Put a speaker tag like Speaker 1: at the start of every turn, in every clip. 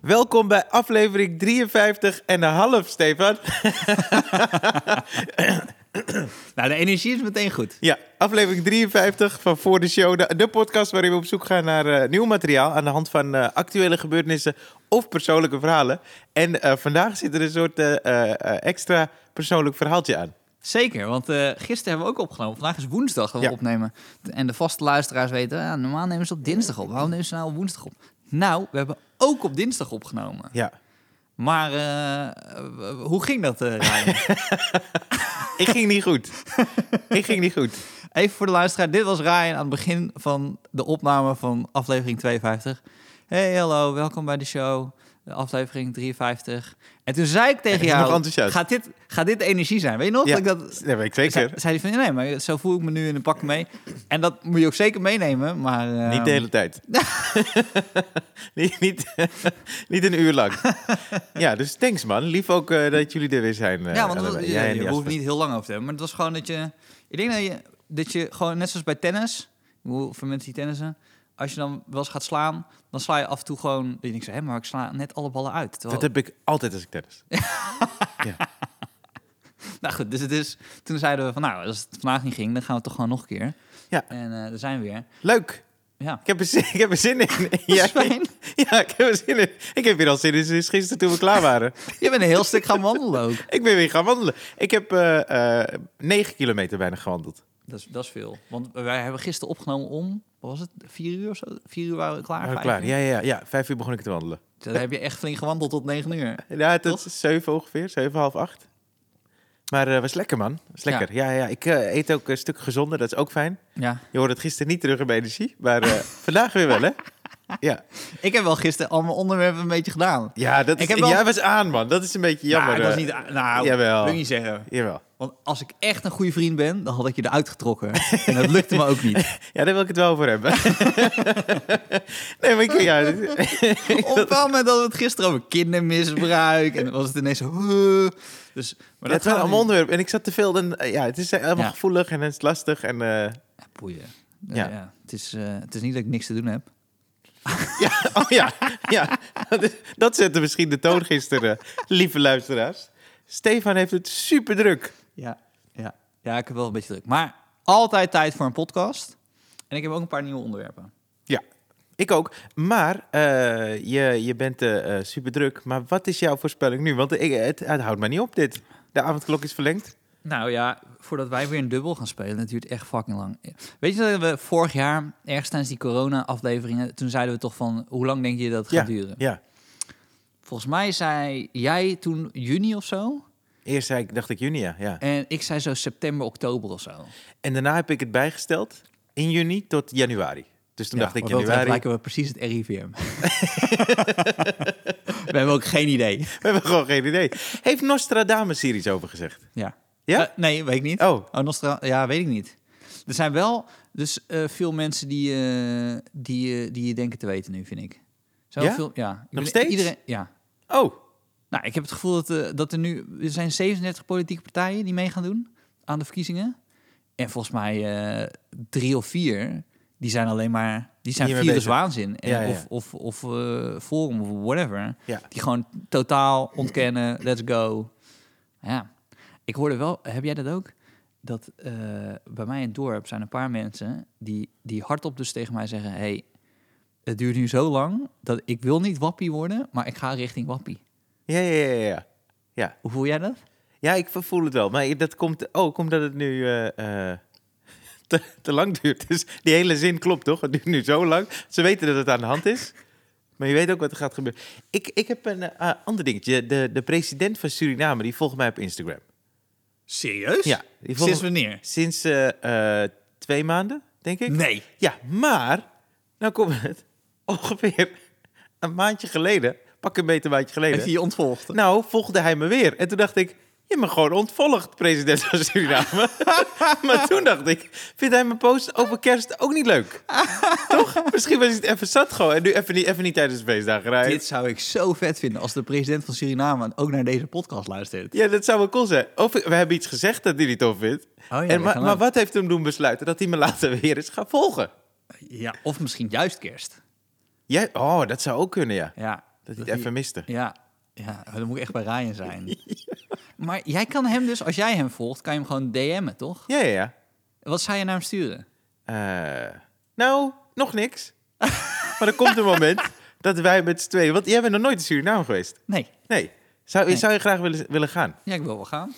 Speaker 1: Welkom bij aflevering 53 en een half, Stefan.
Speaker 2: Nou, de energie is meteen goed.
Speaker 1: Ja, aflevering 53 van Voor de Show. De, de podcast waarin we op zoek gaan naar eh, nieuw materiaal... aan de hand van eh, actuele gebeurtenissen of persoonlijke verhalen. En eh, vandaag zit er een soort eh, eh, eh, extra persoonlijk verhaaltje aan.
Speaker 2: Zeker, want eh, gisteren hebben we ook opgenomen. Vandaag is woensdag dat we
Speaker 1: Ja.
Speaker 2: opnemen. En de vaste luisteraars weten, ja, normaal nemen ze op dinsdag op. Waarom nemen ze nou op woensdag op? Nou, we hebben ook op dinsdag opgenomen.
Speaker 1: Ja.
Speaker 2: Maar eh, eh, hoe ging dat, eh, Ryan?
Speaker 1: Ik ging niet goed. Ik ging niet goed.
Speaker 2: Even voor de luisteraar. Dit was Ryan aan het begin van de opname van aflevering 52. Hey, hallo, welkom bij de show. eh, Aflevering 53. En toen zei ik tegen
Speaker 1: Hij is nog
Speaker 2: jou,
Speaker 1: enthousiast.
Speaker 2: gaat dit, gaat dit de energie zijn? Weet je nog?
Speaker 1: Ja.
Speaker 2: Dat ik dat,
Speaker 1: Dat weet ik zeker.
Speaker 2: Ze- Zei hij van, nee, maar zo voel ik me nu in een pak mee. En dat moet je ook zeker meenemen, maar... eh,
Speaker 1: Niet de hele tijd. niet, niet, niet een uur lang. ja, dus thanks man. Lief ook eh, dat jullie er weer zijn. eh,
Speaker 2: Ja, want dat,
Speaker 1: allebei.
Speaker 2: ja,
Speaker 1: Jij en
Speaker 2: je
Speaker 1: Jasper.
Speaker 2: hoeft niet heel lang over te hebben. Maar het was gewoon dat je... Ik denk dat je, dat je gewoon, net zoals bij tennis... ik bedoel, Voor mensen die tennissen... Als je dan wel eens gaat slaan, dan sla je af en toe gewoon... Dat je denkt, zo, hè, maar ik sla net alle ballen uit. Terwijl-
Speaker 1: Dat heb ik altijd als ik tennis.
Speaker 2: Nou goed, dus het is... Toen zeiden we van, nou, als het vandaag niet ging... dan gaan we toch gewoon nog een keer.
Speaker 1: Ja.
Speaker 2: En eh daar zijn we weer.
Speaker 1: Leuk.
Speaker 2: Ja.
Speaker 1: Ik heb er zin, ik heb er zin in.
Speaker 2: Ja,
Speaker 1: Jij- ja, ik heb er zin in. Ik heb weer al zin in sinds gisteren toen we klaar waren.
Speaker 2: Je bent een heel stuk gaan wandelen ook.
Speaker 1: ik ben weer gaan wandelen. Ik heb eh eh 9 kilometer bijna gewandeld.
Speaker 2: Dat is, dat is veel. Want wij hebben gisteren opgenomen om, wat was het, vier uur of zo? Vier uur waren we klaar.
Speaker 1: Maar
Speaker 2: Ah, vijf
Speaker 1: klaar.
Speaker 2: uur.
Speaker 1: Ja, ja, ja, ja. Vijf uur begon ik te wandelen.
Speaker 2: Dan heb je echt flink gewandeld tot negen uur.
Speaker 1: Ja, het is zeven ongeveer, zeven, half acht. Maar eh was lekker, man. Was
Speaker 2: Ja.
Speaker 1: lekker. Ja, ja, ik eh, eet ook een stuk gezonder, dat is ook fijn.
Speaker 2: Ja.
Speaker 1: Je hoorde het gisteren niet terug in mijn energie, maar eh, vandaag weer wel, hè? Ja,
Speaker 2: Ik heb wel gisteren al mijn onderwerpen een beetje gedaan.
Speaker 1: ja dat
Speaker 2: Ik
Speaker 1: is,
Speaker 2: heb wel-
Speaker 1: jij was aan, man. Dat is een beetje jammer.
Speaker 2: Nou, dat
Speaker 1: eh.
Speaker 2: is niet... Nou,
Speaker 1: jawel.
Speaker 2: wil ik niet zeggen.
Speaker 1: Jawel.
Speaker 2: Want als ik echt een goede vriend ben, dan had ik je eruit getrokken. en dat lukte me ook niet.
Speaker 1: Ja, daar wil ik het wel voor hebben. nee, maar ik... Ja, dit-
Speaker 2: Op een bepaald moment hadden we het gisteren over kindermisbruik. En dan was het ineens zo... huh. Dus, maar
Speaker 1: het was
Speaker 2: gaat
Speaker 1: allemaal onderwerp. En ik zat te veel... En, eh, ja, het is helemaal
Speaker 2: Ja.
Speaker 1: gevoelig en het is lastig. En, eh,
Speaker 2: Ja, boeien.
Speaker 1: Ja.
Speaker 2: Ja. ja. Het, is, eh, het is niet dat ik niks te doen heb.
Speaker 1: Ja, oh ja, ja. Dat is- Dat zette misschien de toon gisteren, lieve luisteraars. Stefan heeft het super druk.
Speaker 2: Ja, ja. ja, ik heb wel een beetje druk. Maar altijd tijd voor een podcast. En ik heb ook een paar nieuwe onderwerpen.
Speaker 1: Ja, ik ook. Maar eh, je, je bent super druk. Maar wat is jouw voorspelling nu? Want ik, het, het houdt maar niet op dit. De avondklok is verlengd.
Speaker 2: Nou ja, voordat wij weer een dubbel gaan spelen, dat duurt echt fucking lang. Weet je dat we vorig jaar, ergens tijdens die corona-afleveringen, toen zeiden we toch van, hoe lang denk je dat het
Speaker 1: ja,
Speaker 2: gaat duren?
Speaker 1: ja.
Speaker 2: Volgens mij zei jij toen juni of zo.
Speaker 1: Eerst zei ik, dacht ik juni, ja. ja.
Speaker 2: En ik zei zo september, oktober of zo.
Speaker 1: En daarna heb ik het bijgesteld in juni tot januari. Dus toen dacht ik
Speaker 2: Dan
Speaker 1: januari.
Speaker 2: lijken we precies het RIVM. we hebben ook geen idee.
Speaker 1: We hebben gewoon geen idee. Heeft Nostradamus hier iets over gezegd?
Speaker 2: Ja.
Speaker 1: Ja?
Speaker 2: Eh, nee, weet ik niet.
Speaker 1: Oh.
Speaker 2: Nostra ja, weet ik niet. Er zijn wel dus eh, veel mensen die, eh, die, eh, die je denken te weten nu, vind ik. Zo
Speaker 1: Ja?
Speaker 2: Veel, ja. Ik
Speaker 1: Nog
Speaker 2: ben-
Speaker 1: steeds?
Speaker 2: Iedereen, ja.
Speaker 1: Oh,
Speaker 2: Nou, ik heb het gevoel dat, eh, dat er nu... Er zijn 37 politieke partijen die mee gaan doen aan de verkiezingen. En volgens mij eh, drie of vier, die zijn alleen maar... Die zijn
Speaker 1: Hiermee bezig.
Speaker 2: viruswaanzin. En,
Speaker 1: Ja, ja, ja.
Speaker 2: Of, of, of eh, Forum of whatever.
Speaker 1: ja.
Speaker 2: Die gewoon totaal ontkennen. Let's go. Ja, ik hoorde wel, heb jij dat ook? Dat eh, bij mij in het dorp zijn een paar mensen die, die hardop dus tegen mij zeggen: hey, het duurt nu zo lang dat ik wil niet wappie worden, maar ik ga richting wappie.
Speaker 1: Ja, ja, ja, ja. Ja.
Speaker 2: Hoe voel jij dat?
Speaker 1: Ja, ik voel het wel. Maar dat komt ook omdat het nu eh, eh, te, te lang duurt. Dus die hele zin klopt, toch? Het duurt nu zo lang. Ze weten dat het aan de hand is. Maar je weet ook wat er gaat gebeuren. Ik, ik heb een eh, ander dingetje. De, de president van Suriname, die volgt mij op Instagram.
Speaker 2: Serieus?
Speaker 1: Ja, die volgen- Sinds
Speaker 2: wanneer?
Speaker 1: Sinds eh, eh, twee maanden, denk ik.
Speaker 2: Nee.
Speaker 1: Ja, maar, nou komt het, ongeveer een maandje geleden, pak een beetje een maandje geleden.
Speaker 2: je ontvolgd?
Speaker 1: Nou, volgde hij me weer. En toen dacht ik, je me gewoon ontvolgd, president van Suriname. maar toen dacht ik, vindt hij mijn post over kerst ook niet leuk? Toch? Misschien was hij het even zat gewoon. En nu even niet, even niet tijdens de feestdagen rijden.
Speaker 2: Dit zou ik zo vet vinden als de president van Suriname ook naar deze podcast luistert.
Speaker 1: Ja, dat zou wel cool zijn. Of we hebben iets gezegd dat hij niet tof vindt.
Speaker 2: Oh ja, dat
Speaker 1: en, maar,
Speaker 2: kan
Speaker 1: maar
Speaker 2: ook.
Speaker 1: wat heeft hem doen besluiten? Dat hij me later weer eens gaat volgen.
Speaker 2: Ja, of misschien juist kerst.
Speaker 1: Jij, oh, dat zou ook kunnen, ja.
Speaker 2: Ja,
Speaker 1: Dat Dat hij
Speaker 2: Dat
Speaker 1: het
Speaker 2: hij-
Speaker 1: even miste.
Speaker 2: Ja, ja, dan moet ik echt bij Ryan zijn. Maar jij kan hem dus, als jij hem volgt, kan je hem gewoon DM'en, toch?
Speaker 1: Ja, ja, ja.
Speaker 2: Wat zou je naar hem sturen?
Speaker 1: Eh, nou, nog niks. maar er komt een moment dat wij met z'n tweeën... Want jij bent nog nooit in Suriname geweest.
Speaker 2: Nee.
Speaker 1: Nee. Zou,
Speaker 2: Nee.
Speaker 1: zou je graag willen, willen gaan?
Speaker 2: Ja, ik wil wel gaan.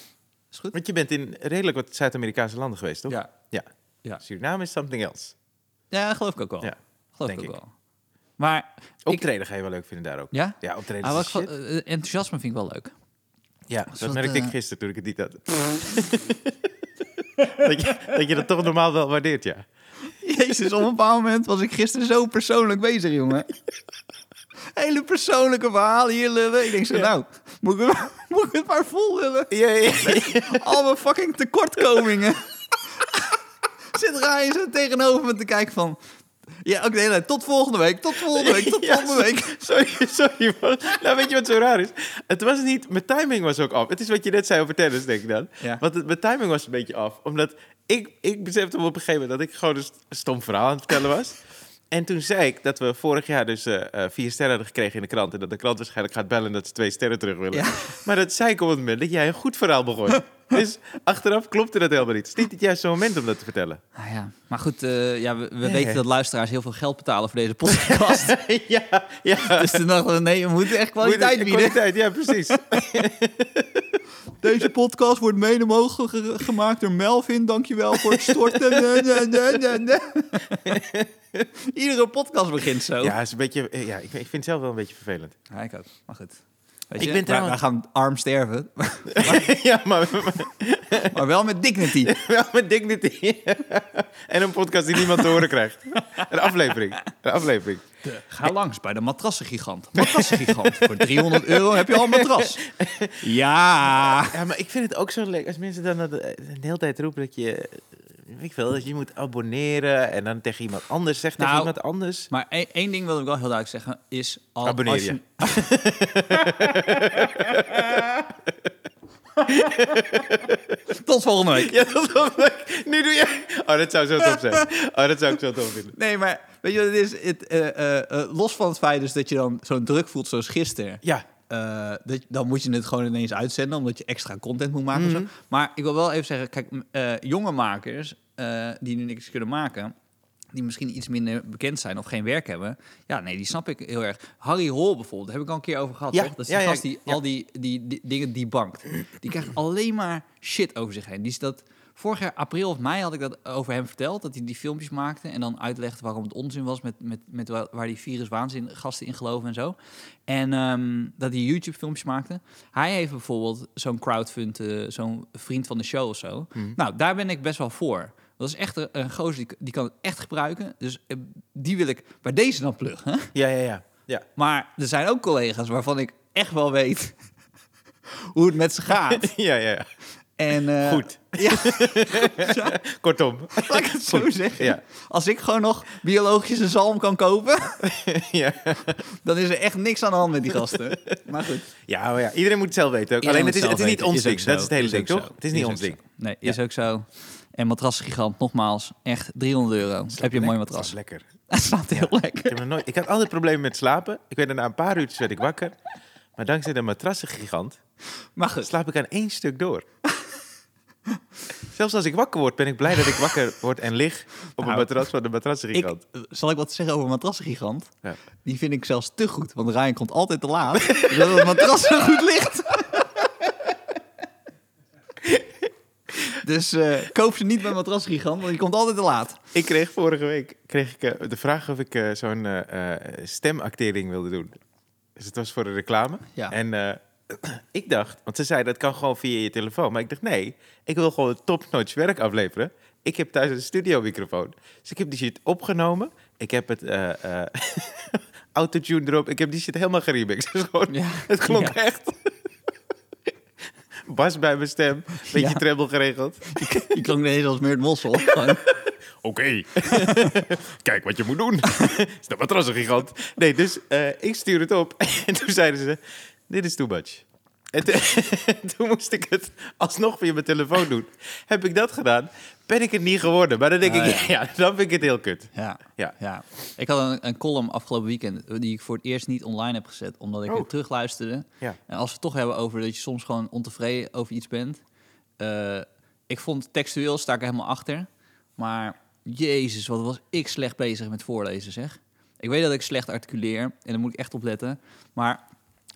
Speaker 2: Is goed.
Speaker 1: Want je bent in redelijk wat Zuid-Amerikaanse landen geweest, toch?
Speaker 2: Ja.
Speaker 1: ja.
Speaker 2: Ja.
Speaker 1: Suriname is something else.
Speaker 2: ja, geloof ik ook wel.
Speaker 1: Ja,
Speaker 2: geloof
Speaker 1: denk
Speaker 2: ik ook
Speaker 1: ik.
Speaker 2: wel. Maar,
Speaker 1: Optreden ga je wel leuk vinden daar ook.
Speaker 2: ja?
Speaker 1: Ja, optreden
Speaker 2: Ah,
Speaker 1: is
Speaker 2: wat
Speaker 1: de
Speaker 2: ik van-
Speaker 1: shit.
Speaker 2: eh, enthousiasme vind ik wel leuk.
Speaker 1: Ja,
Speaker 2: Een
Speaker 1: dat
Speaker 2: soort,
Speaker 1: merkte ik
Speaker 2: eh,
Speaker 1: gisteren toen ik het niet had. dat, je, dat je dat toch normaal wel waardeert, ja.
Speaker 2: Jezus, op een bepaald moment was ik gisteren zo persoonlijk bezig, jongen. Hele persoonlijke verhalen hier lullen. Ik denk zo,
Speaker 1: Ja.
Speaker 2: nou, moet ik, het- moet ik het maar vol lullen?
Speaker 1: Ja, ja,
Speaker 2: Al mijn fucking tekortkomingen. Zit Ryan zo tegenover me te kijken van... Ja, oké, nee, tot volgende week, tot volgende week, tot
Speaker 1: Ja,
Speaker 2: volgende week.
Speaker 1: Sorry, sorry man. Nou, weet je wat zo raar is? Het was niet... Mijn timing was ook af. Het is wat je net zei over tennis, denk ik dan.
Speaker 2: Ja.
Speaker 1: Want het, mijn timing was een beetje af. Omdat ik, ik besefte me op een gegeven moment dat ik gewoon een st- stom verhaal aan het vertellen was. En toen zei ik dat we vorig jaar dus eh, eh, vier sterren hadden gekregen in de krant. En dat de krant waarschijnlijk gaat bellen dat ze twee sterren terug willen.
Speaker 2: Ja.
Speaker 1: Maar dat zei ik op het moment dat jij een goed verhaal begon. dus achteraf klopte dat helemaal niet. Het is niet het juiste moment om dat te vertellen.
Speaker 2: Nou ja, maar goed, eh, ja, we, we
Speaker 1: Nee.
Speaker 2: weten dat luisteraars heel veel geld betalen voor deze podcast.
Speaker 1: ja, ja.
Speaker 2: dus toen dachten we, nee, we moeten echt kwaliteit
Speaker 1: Moet-
Speaker 2: bieden.
Speaker 1: Kwaliteit, ja, precies.
Speaker 2: Deze podcast wordt mede mogelijk ge- gemaakt door Melvin. Dankjewel voor het storten. Nee, nee, nee, nee, nee. Iedere podcast begint zo.
Speaker 1: Ja, is een beetje, eh, ja ik, ik vind het zelf wel een beetje vervelend.
Speaker 2: Ja, ik ook. Maar goed. Weet
Speaker 1: Ik
Speaker 2: je,
Speaker 1: ben
Speaker 2: wij-
Speaker 1: trouwens-
Speaker 2: wij gaan arm sterven,
Speaker 1: ja, maar, maar
Speaker 2: maar wel met dignity.
Speaker 1: wel met dignity. en een podcast die niemand te horen krijgt. Een aflevering. Een aflevering.
Speaker 2: Ga langs bij de matrassengigant. Matrassengigant. voor 300 euro heb je al een matras. Ja.
Speaker 1: Ja, maar ik vind het ook zo leuk als mensen dan dat, eh, de hele tijd roepen dat je... eh, Weet ik veel, dat je moet abonneren en dan tegen iemand anders zegt tegen
Speaker 2: Nou,
Speaker 1: iemand anders.
Speaker 2: Maar één, één ding wil ik wel heel duidelijk zeggen is... Al,
Speaker 1: Abonneer
Speaker 2: als
Speaker 1: je.
Speaker 2: Tot volgende week.
Speaker 1: Ja, dat is wel leuk. Nu doe je... Oh, dat zou zo tof zijn. Oh, dat zou ik zo tof vinden.
Speaker 2: Nee, maar weet je wat het is? Het, eh, eh, eh, los van het feit dus dat je dan zo'n druk voelt zoals gisteren...
Speaker 1: Ja,
Speaker 2: eh, dat, dan moet je het gewoon ineens uitzenden... omdat je extra content moet maken. of
Speaker 1: Mhm.
Speaker 2: zo. Maar ik wil wel even zeggen... Kijk, m- eh, jonge makers eh, die nu niks kunnen maken... die misschien iets minder bekend zijn of geen werk hebben... ja, nee, die snap ik heel erg. Harry Hol bijvoorbeeld, daar heb ik al een keer over gehad,
Speaker 1: Ja,
Speaker 2: toch? Dat is die
Speaker 1: ja, ja,
Speaker 2: gast die
Speaker 1: ja.
Speaker 2: al die, die, die dingen die bankt. Die krijgt alleen maar shit over zich heen. Die is dat... Vorig jaar, april of mei, had ik dat over hem verteld. Dat hij die filmpjes maakte en dan uitlegde waarom het onzin was... met, met, met wa- waar die viruswaanzin gasten in geloven en zo. En ehm, dat hij YouTube-filmpjes maakte. Hij heeft bijvoorbeeld zo'n crowdfund, eh, zo'n vriend van de show of zo. Nou, daar ben ik best wel voor. Dat is echt een, een gozer, die, die kan het echt gebruiken. Dus eh, die wil ik bij deze dan pluggen.
Speaker 1: ja, ja, ja. ja.
Speaker 2: Maar er zijn ook collega's waarvan ik echt wel weet hoe het met ze gaat.
Speaker 1: Ja, ja, ja.
Speaker 2: En, eh,
Speaker 1: Goed.
Speaker 2: Ja, ja,
Speaker 1: Kortom.
Speaker 2: laat ik het zo zeggen.
Speaker 1: Ja.
Speaker 2: Als ik gewoon nog biologische zalm kan kopen,
Speaker 1: Ja.
Speaker 2: dan is er echt niks aan de hand met die gasten. Maar goed.
Speaker 1: Ja, maar ja, iedereen moet het zelf weten. Ook.
Speaker 2: Iedereen
Speaker 1: Alleen
Speaker 2: moet
Speaker 1: het is, het
Speaker 2: zelf
Speaker 1: is niet ons
Speaker 2: weten. ook
Speaker 1: ding.
Speaker 2: zo.
Speaker 1: Dat is het hele ding,
Speaker 2: ook
Speaker 1: toch?
Speaker 2: zo.
Speaker 1: Het is niet
Speaker 2: ook
Speaker 1: ons
Speaker 2: zo.
Speaker 1: ding.
Speaker 2: Nee, is ook zo. En matrasgigant, nogmaals, echt 300 euro. Heb je een
Speaker 1: Lekker,
Speaker 2: mooi matras.
Speaker 1: dat is lekker.
Speaker 2: Dat slaapt heel
Speaker 1: Ik,
Speaker 2: lekker.
Speaker 1: heb nog nooit, ik had altijd problemen met slapen. Ik werd er na een paar uurtjes werd ik wakker. Maar dankzij de matrassengigant
Speaker 2: Maar goed.
Speaker 1: slaap ik aan één stuk door. Zelfs als ik wakker word, ben ik blij dat ik wakker word en lig op een
Speaker 2: Nou,
Speaker 1: matras van de
Speaker 2: Ik,
Speaker 1: matrassengigant.
Speaker 2: eh, zal ik wat zeggen over matrassengigant?
Speaker 1: Ja.
Speaker 2: Die vind ik zelfs te goed, want Ryan komt altijd te laat. zodat het matras zo goed ligt. dus eh, koop ze niet bij matrasgigant, want die komt altijd te laat.
Speaker 1: Ik kreeg vorige week kreeg ik, eh, de vraag of ik eh, zo'n eh, eh, stemactering wilde doen. Dus het was voor een reclame.
Speaker 2: Ja.
Speaker 1: En eh, ik dacht, want ze zei dat kan gewoon via je telefoon. Maar ik dacht, nee, ik wil gewoon topnotch werk afleveren. Ik heb thuis een studiomicrofoon. Dus ik heb die shit opgenomen. Ik heb het eh, eh, autotune erop. Ik heb die shit helemaal geremixed. Dus gewoon,
Speaker 2: Ja.
Speaker 1: het klonk
Speaker 2: Ja.
Speaker 1: echt. Bas bij mijn stem. Beetje
Speaker 2: Ja.
Speaker 1: treble geregeld.
Speaker 2: Die klonk ineens als Meert Mossel. Gewoon.
Speaker 1: Oké, kijk wat je moet doen. is dat matras een gigant? Nee, dus eh, ik stuur het op. en toen zeiden ze, dit is too much. En toen- toen moest ik het alsnog via mijn telefoon doen. Heb ik dat gedaan, ben ik het niet geworden. Maar dan denk
Speaker 2: Ah,
Speaker 1: ik, ja. dan vind ik het heel kut.
Speaker 2: Ja.
Speaker 1: Ja.
Speaker 2: ja. Ik had een, een column afgelopen weekend eh, die ik voor het eerst niet online heb gezet, omdat ik
Speaker 1: Oh.
Speaker 2: het terugluisterde.
Speaker 1: Ja.
Speaker 2: En als we het toch hebben over dat je soms gewoon ontevreden over iets bent. eh, ik vond textueel sta ik er helemaal achter. Maar jezus, wat was ik slecht bezig met voorlezen, zeg. Ik weet dat ik slecht articuleer en daar moet ik echt op letten. Maar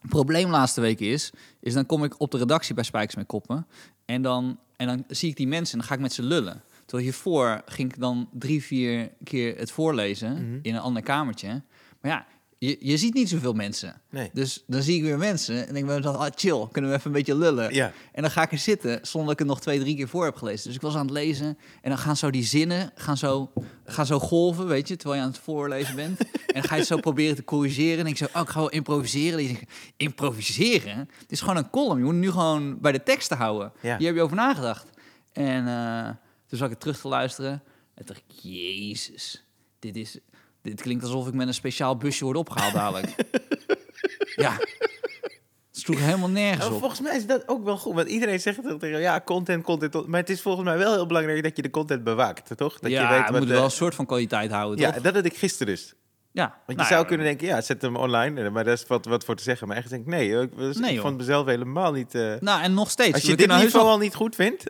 Speaker 2: het probleem laatste week is, is dan kom ik op de redactie bij Spijkers met Koppen. En dan, en dan zie ik die mensen en dan ga ik met ze lullen. Terwijl hiervoor ging ik dan drie, vier keer het voorlezen
Speaker 1: Mhm.
Speaker 2: in een ander kamertje. Maar ja, je, je ziet niet zoveel mensen.
Speaker 1: Nee.
Speaker 2: Dus dan zie ik weer mensen en denk ik, ah, chill, kunnen we even een beetje lullen.
Speaker 1: Ja.
Speaker 2: En dan ga ik er zitten zonder dat ik het nog twee, drie keer voor heb gelezen. Dus ik was aan het lezen en dan gaan zo die zinnen, gaan zo, gaan zo golven, weet je, terwijl je aan het voorlezen bent. en dan ga je het zo proberen te corrigeren. En denk ik zo, oh, ik ga wel improviseren. Dan denk ik, improviseren? Het is gewoon een column. Je moet nu gewoon bij de teksten houden.
Speaker 1: Ja.
Speaker 2: Hier heb je over nagedacht. En eh, toen zat ik het terug te luisteren. En toen dacht ik, jezus, dit is... Dit klinkt alsof ik met een speciaal busje word opgehaald dadelijk. ja. Het sloeg helemaal nergens
Speaker 1: Nou,
Speaker 2: op.
Speaker 1: volgens mij is dat ook wel goed. Want iedereen zegt toch tegen jou, ja, content, content. Maar het is volgens mij wel heel belangrijk dat je de content bewaakt, toch? Dat
Speaker 2: ja,
Speaker 1: je
Speaker 2: je moet
Speaker 1: de-
Speaker 2: wel een soort van kwaliteit houden,
Speaker 1: Ja,
Speaker 2: toch?
Speaker 1: dat had ik gisteren dus.
Speaker 2: Ja.
Speaker 1: Want je
Speaker 2: Nou
Speaker 1: zou
Speaker 2: ja,
Speaker 1: kunnen denken, ja, zet hem online. eh, Maar daar is wat, wat voor te zeggen. Maar echt denk ik, nee, hoor, ik, was-
Speaker 2: Nee,
Speaker 1: ik
Speaker 2: joh.
Speaker 1: vond mezelf helemaal niet... eh,
Speaker 2: Nou, en nog steeds.
Speaker 1: Als je
Speaker 2: we
Speaker 1: dit
Speaker 2: kunnen heus
Speaker 1: niveau
Speaker 2: wel...
Speaker 1: al niet goed vindt,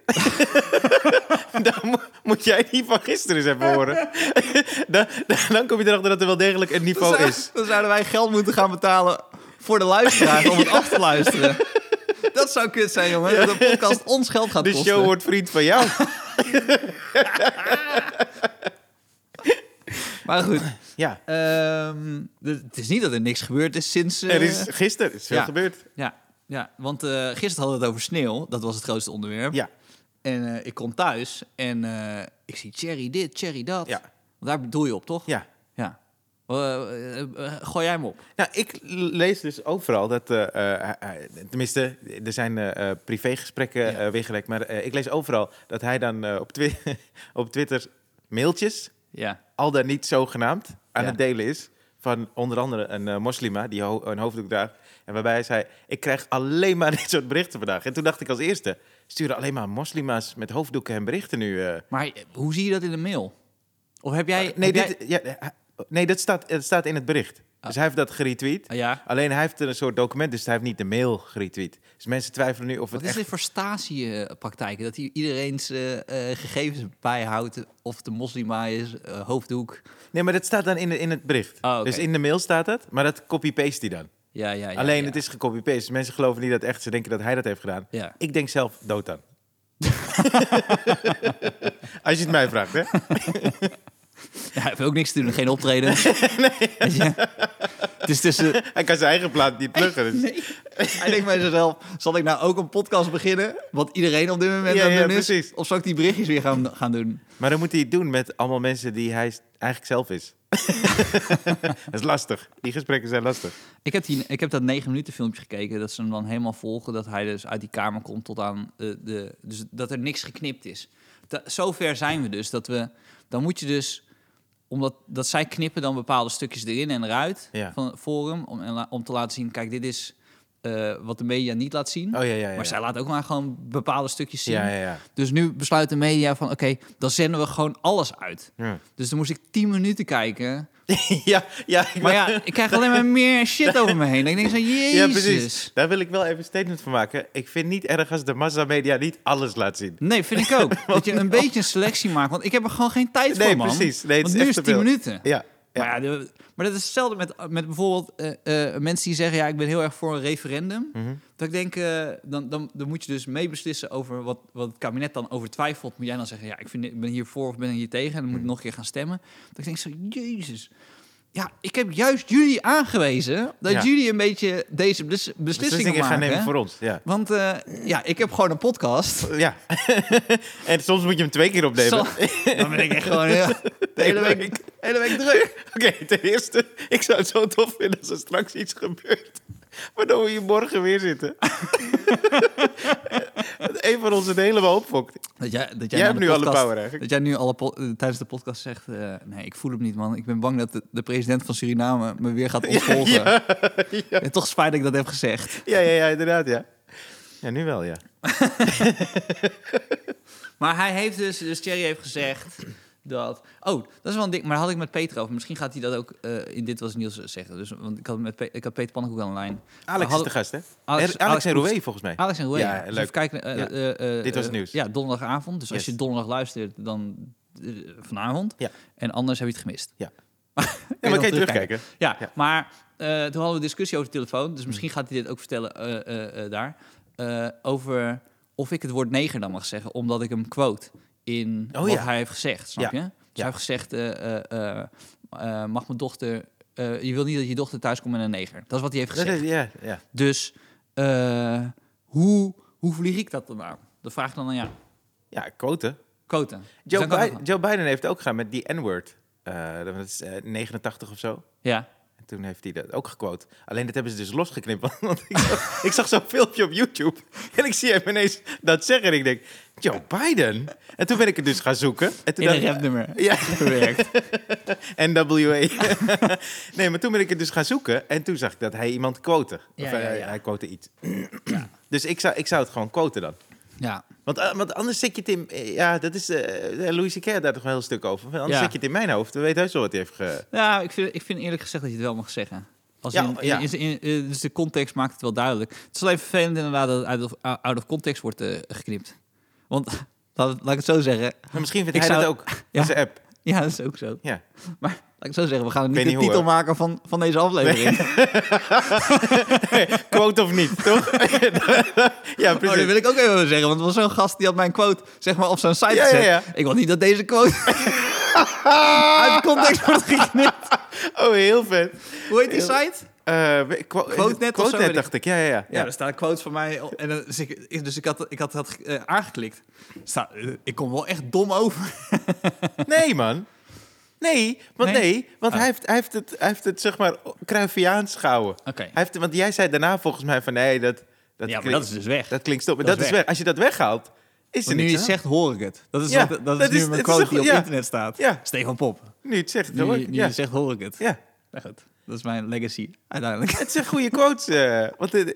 Speaker 1: dan mo- moet jij die van gisteren eens even horen. dan, dan, dan kom je erachter dat er wel degelijk een niveau is.
Speaker 2: Dan zouden wij geld moeten gaan betalen voor de luisteraar om het af te luisteren. Dat zou kut zijn, jongen. Dat de podcast ons geld gaat
Speaker 1: De
Speaker 2: kosten.
Speaker 1: show Dus wordt vriend van jou.
Speaker 2: Maar goed,
Speaker 1: ja,
Speaker 2: ehm, d- het is niet dat er niks gebeurd is sinds... eh,
Speaker 1: er is gisteren is veel
Speaker 2: ja.
Speaker 1: gebeurd.
Speaker 2: Ja, ja want eh, gisteren hadden we het over sneeuw. Dat was het grootste onderwerp.
Speaker 1: Ja,
Speaker 2: En eh, ik kom thuis en eh, ik zie Cherry dit, Cherry dat.
Speaker 1: Ja.
Speaker 2: Want Daar bedoel je op, toch?
Speaker 1: ja.
Speaker 2: Ja. Eh, eh, eh, gooi jij hem op.
Speaker 1: Nou, ik lees dus overal dat, eh, eh, hij- hij- tenminste, er zijn eh, eh, privégesprekken
Speaker 2: Ja.
Speaker 1: eh, weergelegd, maar eh, ik lees overal dat hij dan eh, op, twi- op Twitter mailtjes
Speaker 2: Ja.
Speaker 1: al dan niet zogenaamd aan
Speaker 2: Ja.
Speaker 1: het delen is. Van onder andere een eh, moslima die ho- een hoofddoek draagt. En waarbij hij zei: Ik krijg alleen maar dit soort berichten vandaag. En toen dacht ik als eerste: sturen alleen maar moslima's met hoofddoeken en berichten nu. eh.
Speaker 2: Maar hoe zie je dat in de mail? Of heb jij...
Speaker 1: Ah, nee,
Speaker 2: heb jij-
Speaker 1: dit, ja, eh, nee, dat staat, dat staat in het bericht. Dus hij heeft dat geretweet.
Speaker 2: Ah, ja.
Speaker 1: Alleen hij heeft een soort document, dus hij heeft niet de mail geretweet. Dus mensen twijfelen nu of het
Speaker 2: Wat is
Speaker 1: echt.
Speaker 2: dit voor statiepraktijken? Dat hij iedereen's eh, eh, gegevens bijhoudt. Of de moslima is, eh, hoofddoek.
Speaker 1: Nee, maar dat staat dan in, de- in het bericht.
Speaker 2: Oh, oké.
Speaker 1: Dus in de mail staat het, maar dat copy-paste hij dan.
Speaker 2: Ja, ja, ja.
Speaker 1: Alleen
Speaker 2: ja.
Speaker 1: het is gecopy-paste. Dus Mensen geloven niet dat het echt. Ze denken dat hij dat heeft gedaan.
Speaker 2: Ja.
Speaker 1: Ik denk zelf dood aan. Als je het mij vraagt, hè?
Speaker 2: Ja, hij heeft ook niks te doen. Geen optreden. Het is tussen...
Speaker 1: Hij kan zijn eigen plaat niet pluggen. dus-
Speaker 2: Nee. Hij denkt bij zichzelf, zal ik nou ook een podcast beginnen? Wat iedereen op dit moment
Speaker 1: Ja,
Speaker 2: aan het
Speaker 1: ja,
Speaker 2: doen is?
Speaker 1: precies.
Speaker 2: Of zal ik die berichtjes weer gaan, gaan doen?
Speaker 1: Maar dan moet hij het doen met allemaal mensen die hij s- eigenlijk zelf is. dat is lastig. Die gesprekken zijn lastig.
Speaker 2: Ik heb, die, ik heb dat negen minuten filmpje gekeken, dat ze hem dan helemaal volgen, dat hij dus uit die kamer komt tot aan eh, de... Dus dat er niks geknipt is. Da- zover zijn we dus, dat we... Dan moet je dus, omdat dat zij knippen dan bepaalde stukjes erin en eruit
Speaker 1: Ja.
Speaker 2: van het forum, om, en la- om te laten zien, kijk, dit is eh, wat de media niet laat zien.
Speaker 1: Oh ja, ja, ja.
Speaker 2: Maar zij laat ook maar gewoon bepaalde stukjes zien.
Speaker 1: ja, ja, ja.
Speaker 2: Dus nu besluit de media van, oké, dan zenden we gewoon alles uit.
Speaker 1: Ja,
Speaker 2: Dus dan moest ik tien minuten kijken
Speaker 1: ja, ja, ik
Speaker 2: maar
Speaker 1: ben-
Speaker 2: ja, ik krijg alleen maar meer shit over me heen. Dan denk ik zo, jezus.
Speaker 1: ja, precies. Daar wil ik wel even een statement van maken. Ik vind niet erg als de massamedia niet alles laat zien.
Speaker 2: Nee, vind ik ook. dat je een beetje een selectie maakt. Want ik heb er gewoon geen tijd
Speaker 1: Nee,
Speaker 2: voor, man.
Speaker 1: precies. Nee, het
Speaker 2: want
Speaker 1: is echt
Speaker 2: nu is
Speaker 1: te
Speaker 2: 10
Speaker 1: veel.
Speaker 2: minuten.
Speaker 1: Ja, ja.
Speaker 2: Maar, ja, de- maar dat is hetzelfde met, met bijvoorbeeld eh, eh, mensen die zeggen... ja, ik ben heel erg voor een referendum.
Speaker 1: Mhm.
Speaker 2: Dat ik denk, eh, dan, dan, dan moet je dus meebeslissen over wat, wat het kabinet dan over twijfelt. Moet jij dan zeggen, ja, ik, vind, ik ben hiervoor of ben hier tegen... en dan
Speaker 1: Mhm.
Speaker 2: moet ik nog een keer gaan stemmen. Dat ik denk zo, jezus... Ja, ik heb juist jullie aangewezen dat
Speaker 1: Ja.
Speaker 2: jullie een beetje deze bes- beslissingen
Speaker 1: Beslissingen
Speaker 2: maken.
Speaker 1: gaan nemen voor ons. Ja.
Speaker 2: Want eh, ja, ik heb gewoon een podcast.
Speaker 1: Ja. en soms moet je hem twee keer opnemen.
Speaker 2: Zo- dan ben ik echt gewoon ja, de hele week, hele week druk.
Speaker 1: Oké, ten eerste, ik zou het zo tof vinden als er straks iets gebeurt. Waardoor we hier morgen weer zitten. Dat een van ons een hele hoop fokt.
Speaker 2: Dat jij, dat
Speaker 1: Jij
Speaker 2: na
Speaker 1: hebt
Speaker 2: de
Speaker 1: nu alle
Speaker 2: podcast-
Speaker 1: power eigenlijk.
Speaker 2: Dat jij nu alle po- eh, tijdens de podcast zegt... eh, nee, ik voel hem niet, man. Ik ben bang dat de, de president van Suriname me weer gaat ontvolgen.
Speaker 1: Ja,
Speaker 2: En toch spijt dat ik dat heb gezegd.
Speaker 1: ja, ja, ja, inderdaad, ja. Ja, nu wel, ja.
Speaker 2: Maar hij heeft dus, dus Thierry heeft gezegd dat. Oh, dat is wel een ding. Maar had ik met Peter over. Misschien gaat hij dat ook eh, in dit was Niels zeggen. Dus, want ik had met Pe- ik had Peter Pannenkoek aan de lijn.
Speaker 1: Alex is
Speaker 2: hadden-
Speaker 1: de gast, hè?
Speaker 2: Alex-
Speaker 1: Alex,
Speaker 2: Alex
Speaker 1: en
Speaker 2: Roes.
Speaker 1: Roué, volgens mij.
Speaker 2: Alex en Roué.
Speaker 1: Ja,
Speaker 2: Dus
Speaker 1: leuk.
Speaker 2: even kijken, eh,
Speaker 1: Ja.
Speaker 2: eh, eh,
Speaker 1: Dit was
Speaker 2: eh,
Speaker 1: nieuws.
Speaker 2: Ja, donderdagavond. Dus als
Speaker 1: Yes.
Speaker 2: je donderdag luistert, dan eh, vanavond.
Speaker 1: Ja.
Speaker 2: En anders heb je het gemist.
Speaker 1: Ja.
Speaker 2: Kun
Speaker 1: Ja, maar kan je
Speaker 2: dan
Speaker 1: terugkijken.
Speaker 2: Ja,
Speaker 1: Ja. Mm.
Speaker 2: maar eh, toen hadden we een discussie over de telefoon. Dus misschien gaat hij dit ook vertellen eh, eh, eh, daar. Eh, over of ik het woord neger dan mag zeggen. Omdat ik hem quote in
Speaker 1: Oh,
Speaker 2: wat
Speaker 1: ja.
Speaker 2: hij heeft gezegd. Snap
Speaker 1: Ja.
Speaker 2: je? Dus
Speaker 1: Ja.
Speaker 2: hij heeft gezegd... eh, eh, eh, eh, mag mijn dochter... eh, je wil niet dat je dochter thuis komt met een neger. Dat is wat hij heeft
Speaker 1: Dat
Speaker 2: gezegd.
Speaker 1: is- ja, ja.
Speaker 2: Dus eh, hoe, hoe vlieg ik dat dan aan? Dat vraag ik dan aan jou.
Speaker 1: ja, quote.
Speaker 2: Quoten. Dus
Speaker 1: Joe,
Speaker 2: dan kan
Speaker 1: Bi-
Speaker 2: ik nog-
Speaker 1: Joe Biden heeft het ook gedaan met die N-word. Eh, dat is eh, 89 of zo.
Speaker 2: Ja.
Speaker 1: En toen heeft hij dat ook gequote. Alleen dat hebben ze dus losgeknipt. Want ik zag, ik zag zo'n filmpje op YouTube. En ik zie hem ineens dat zeggen. En ik denk, Joe Biden? En toen ben ik het dus gaan zoeken. En toen
Speaker 2: In een
Speaker 1: dacht-
Speaker 2: rapnummer.
Speaker 1: Ja.
Speaker 2: Gewerkt.
Speaker 1: NWA. nee, maar toen ben ik het dus gaan zoeken. En toen zag ik dat hij iemand quote. Of
Speaker 2: Ja,
Speaker 1: hij-
Speaker 2: ja, ja.
Speaker 1: hij quote iets. Dus ik zou, ik zou het gewoon quoten dan.
Speaker 2: Ja.
Speaker 1: Want, eh, want anders zit je het in... eh, Ja, dat is... eh, Louis C.K. had daar toch een heel stuk over. Anders
Speaker 2: Ja.
Speaker 1: zit je het in mijn hoofd. We weten heus wel wat hij heeft ge...
Speaker 2: Ja, ik vind, ik vind eerlijk gezegd dat je het wel mag zeggen. Als
Speaker 1: Ja,
Speaker 2: in, in-
Speaker 1: ja.
Speaker 2: in- in- eh, dus de context maakt het wel duidelijk. Het is alleen vervelend inderdaad dat het uit of- out of context wordt eh, geknipt. Want, laat, het- laat ik het zo zeggen.
Speaker 1: Maar misschien vindt
Speaker 2: Ik
Speaker 1: hij dat
Speaker 2: zou-
Speaker 1: ook.
Speaker 2: Ja.
Speaker 1: Ja. Zijn app.
Speaker 2: Ja, dat is ook zo.
Speaker 1: Ja.
Speaker 2: Maar laat ik het zo zeggen, we gaan
Speaker 1: weet
Speaker 2: niet de
Speaker 1: niet hoe,
Speaker 2: titel
Speaker 1: hoor.
Speaker 2: maken van, van deze aflevering. Oh,
Speaker 1: Quote of niet, toch? ja,
Speaker 2: Oh, dat
Speaker 1: precies.
Speaker 2: wil ik ook even wat zeggen. Want er was zo'n gast die had mijn quote zeg maar, op zijn site
Speaker 1: Ja,
Speaker 2: gezet.
Speaker 1: ja, ja.
Speaker 2: Ik wil niet dat deze quote uit context wordt geknipt.
Speaker 1: Oh, heel vet.
Speaker 2: Hoe heet die site?
Speaker 1: Eh, we- quo-
Speaker 2: Quotenet of zo,
Speaker 1: Quotenet
Speaker 2: weet ik.
Speaker 1: dacht ik. Ja, ja, ja.
Speaker 2: Ja, er staan quotes van mij. op- En, dan- dus ik, dus ik had, ik had dat eh, aangeklikt. Sta, eh, ik kom wel echt dom over.
Speaker 1: Nee, man. Nee, want
Speaker 2: Nee?
Speaker 1: nee, want
Speaker 2: Oh.
Speaker 1: hij, heeft, hij, heeft het, hij heeft het, zeg maar, Cruyffiaans gehouden.
Speaker 2: Oké.
Speaker 1: Hij heeft, want jij zei daarna volgens mij van, nee, dat, dat,
Speaker 2: Ja, maar
Speaker 1: klinkt,
Speaker 2: dat is dus weg.
Speaker 1: dat klinkt stom. Dat,
Speaker 2: Dat
Speaker 1: is
Speaker 2: is
Speaker 1: weg. Als je dat weghaalt, is er
Speaker 2: nu
Speaker 1: niks
Speaker 2: je
Speaker 1: aan.
Speaker 2: het zegt, hoor ik het. Dat is,
Speaker 1: Ja,
Speaker 2: wat, dat
Speaker 1: dat
Speaker 2: is
Speaker 1: is-
Speaker 2: nu mijn
Speaker 1: het is
Speaker 2: quote
Speaker 1: een
Speaker 2: die op
Speaker 1: go- ja.
Speaker 2: internet staat.
Speaker 1: Ja.
Speaker 2: Stefan Pop.
Speaker 1: Nu je het zegt,
Speaker 2: Nu,
Speaker 1: hoor.
Speaker 2: je- nu
Speaker 1: ja.
Speaker 2: je zegt, hoor ik het.
Speaker 1: ja,
Speaker 2: Nou goed, dat is mijn legacy uiteindelijk.
Speaker 1: het zijn goede quotes. eh, want, eh,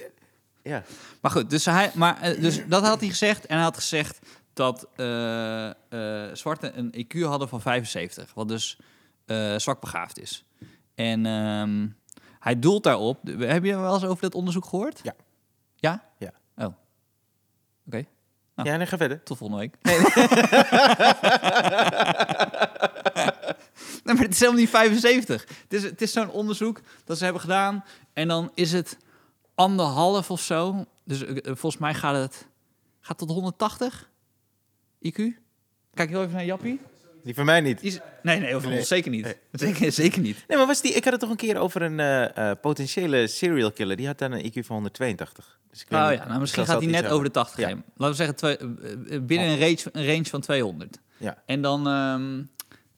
Speaker 1: ja.
Speaker 2: Maar goed, dus, hij, maar, eh, dus dat had hij gezegd. En hij had gezegd dat eh eh, zwarten een IQ hadden van 75. Wat dus eh zwak begaafd is. En ehm, hij doelt daarop. Heb je wel eens over dat onderzoek gehoord?
Speaker 1: Ja.
Speaker 2: Ja?
Speaker 1: Ja.
Speaker 2: Oh. Oké, Ah.
Speaker 1: ja, nee, ga verder.
Speaker 2: tot volgende week. nee, maar het is helemaal niet 75. Het is, het is zo'n onderzoek dat ze hebben gedaan. En dan is het anderhalf of zo. Dus eh, eh, volgens mij gaat het gaat tot 180 IQ. Kijk heel even naar Jappie.
Speaker 1: Die van mij niet.
Speaker 2: Die is- nee, nee, of
Speaker 1: Nee.
Speaker 2: zeker niet.
Speaker 1: Nee.
Speaker 2: Zeker, zeker niet.
Speaker 1: Nee, maar was die, ik had het toch een keer over een eh, eh, potentiële serial killer. Die had dan een IQ van 182. Dus ik weet
Speaker 2: Oh
Speaker 1: niet,
Speaker 2: ja, nou misschien
Speaker 1: zelfs dat
Speaker 2: gaat
Speaker 1: iets
Speaker 2: hij net
Speaker 1: hebben.
Speaker 2: over de 80
Speaker 1: Ja.
Speaker 2: heen. Laten we zeggen twee- eh, eh, binnen een range, een range van 200.
Speaker 1: Ja.
Speaker 2: En dan... ehm,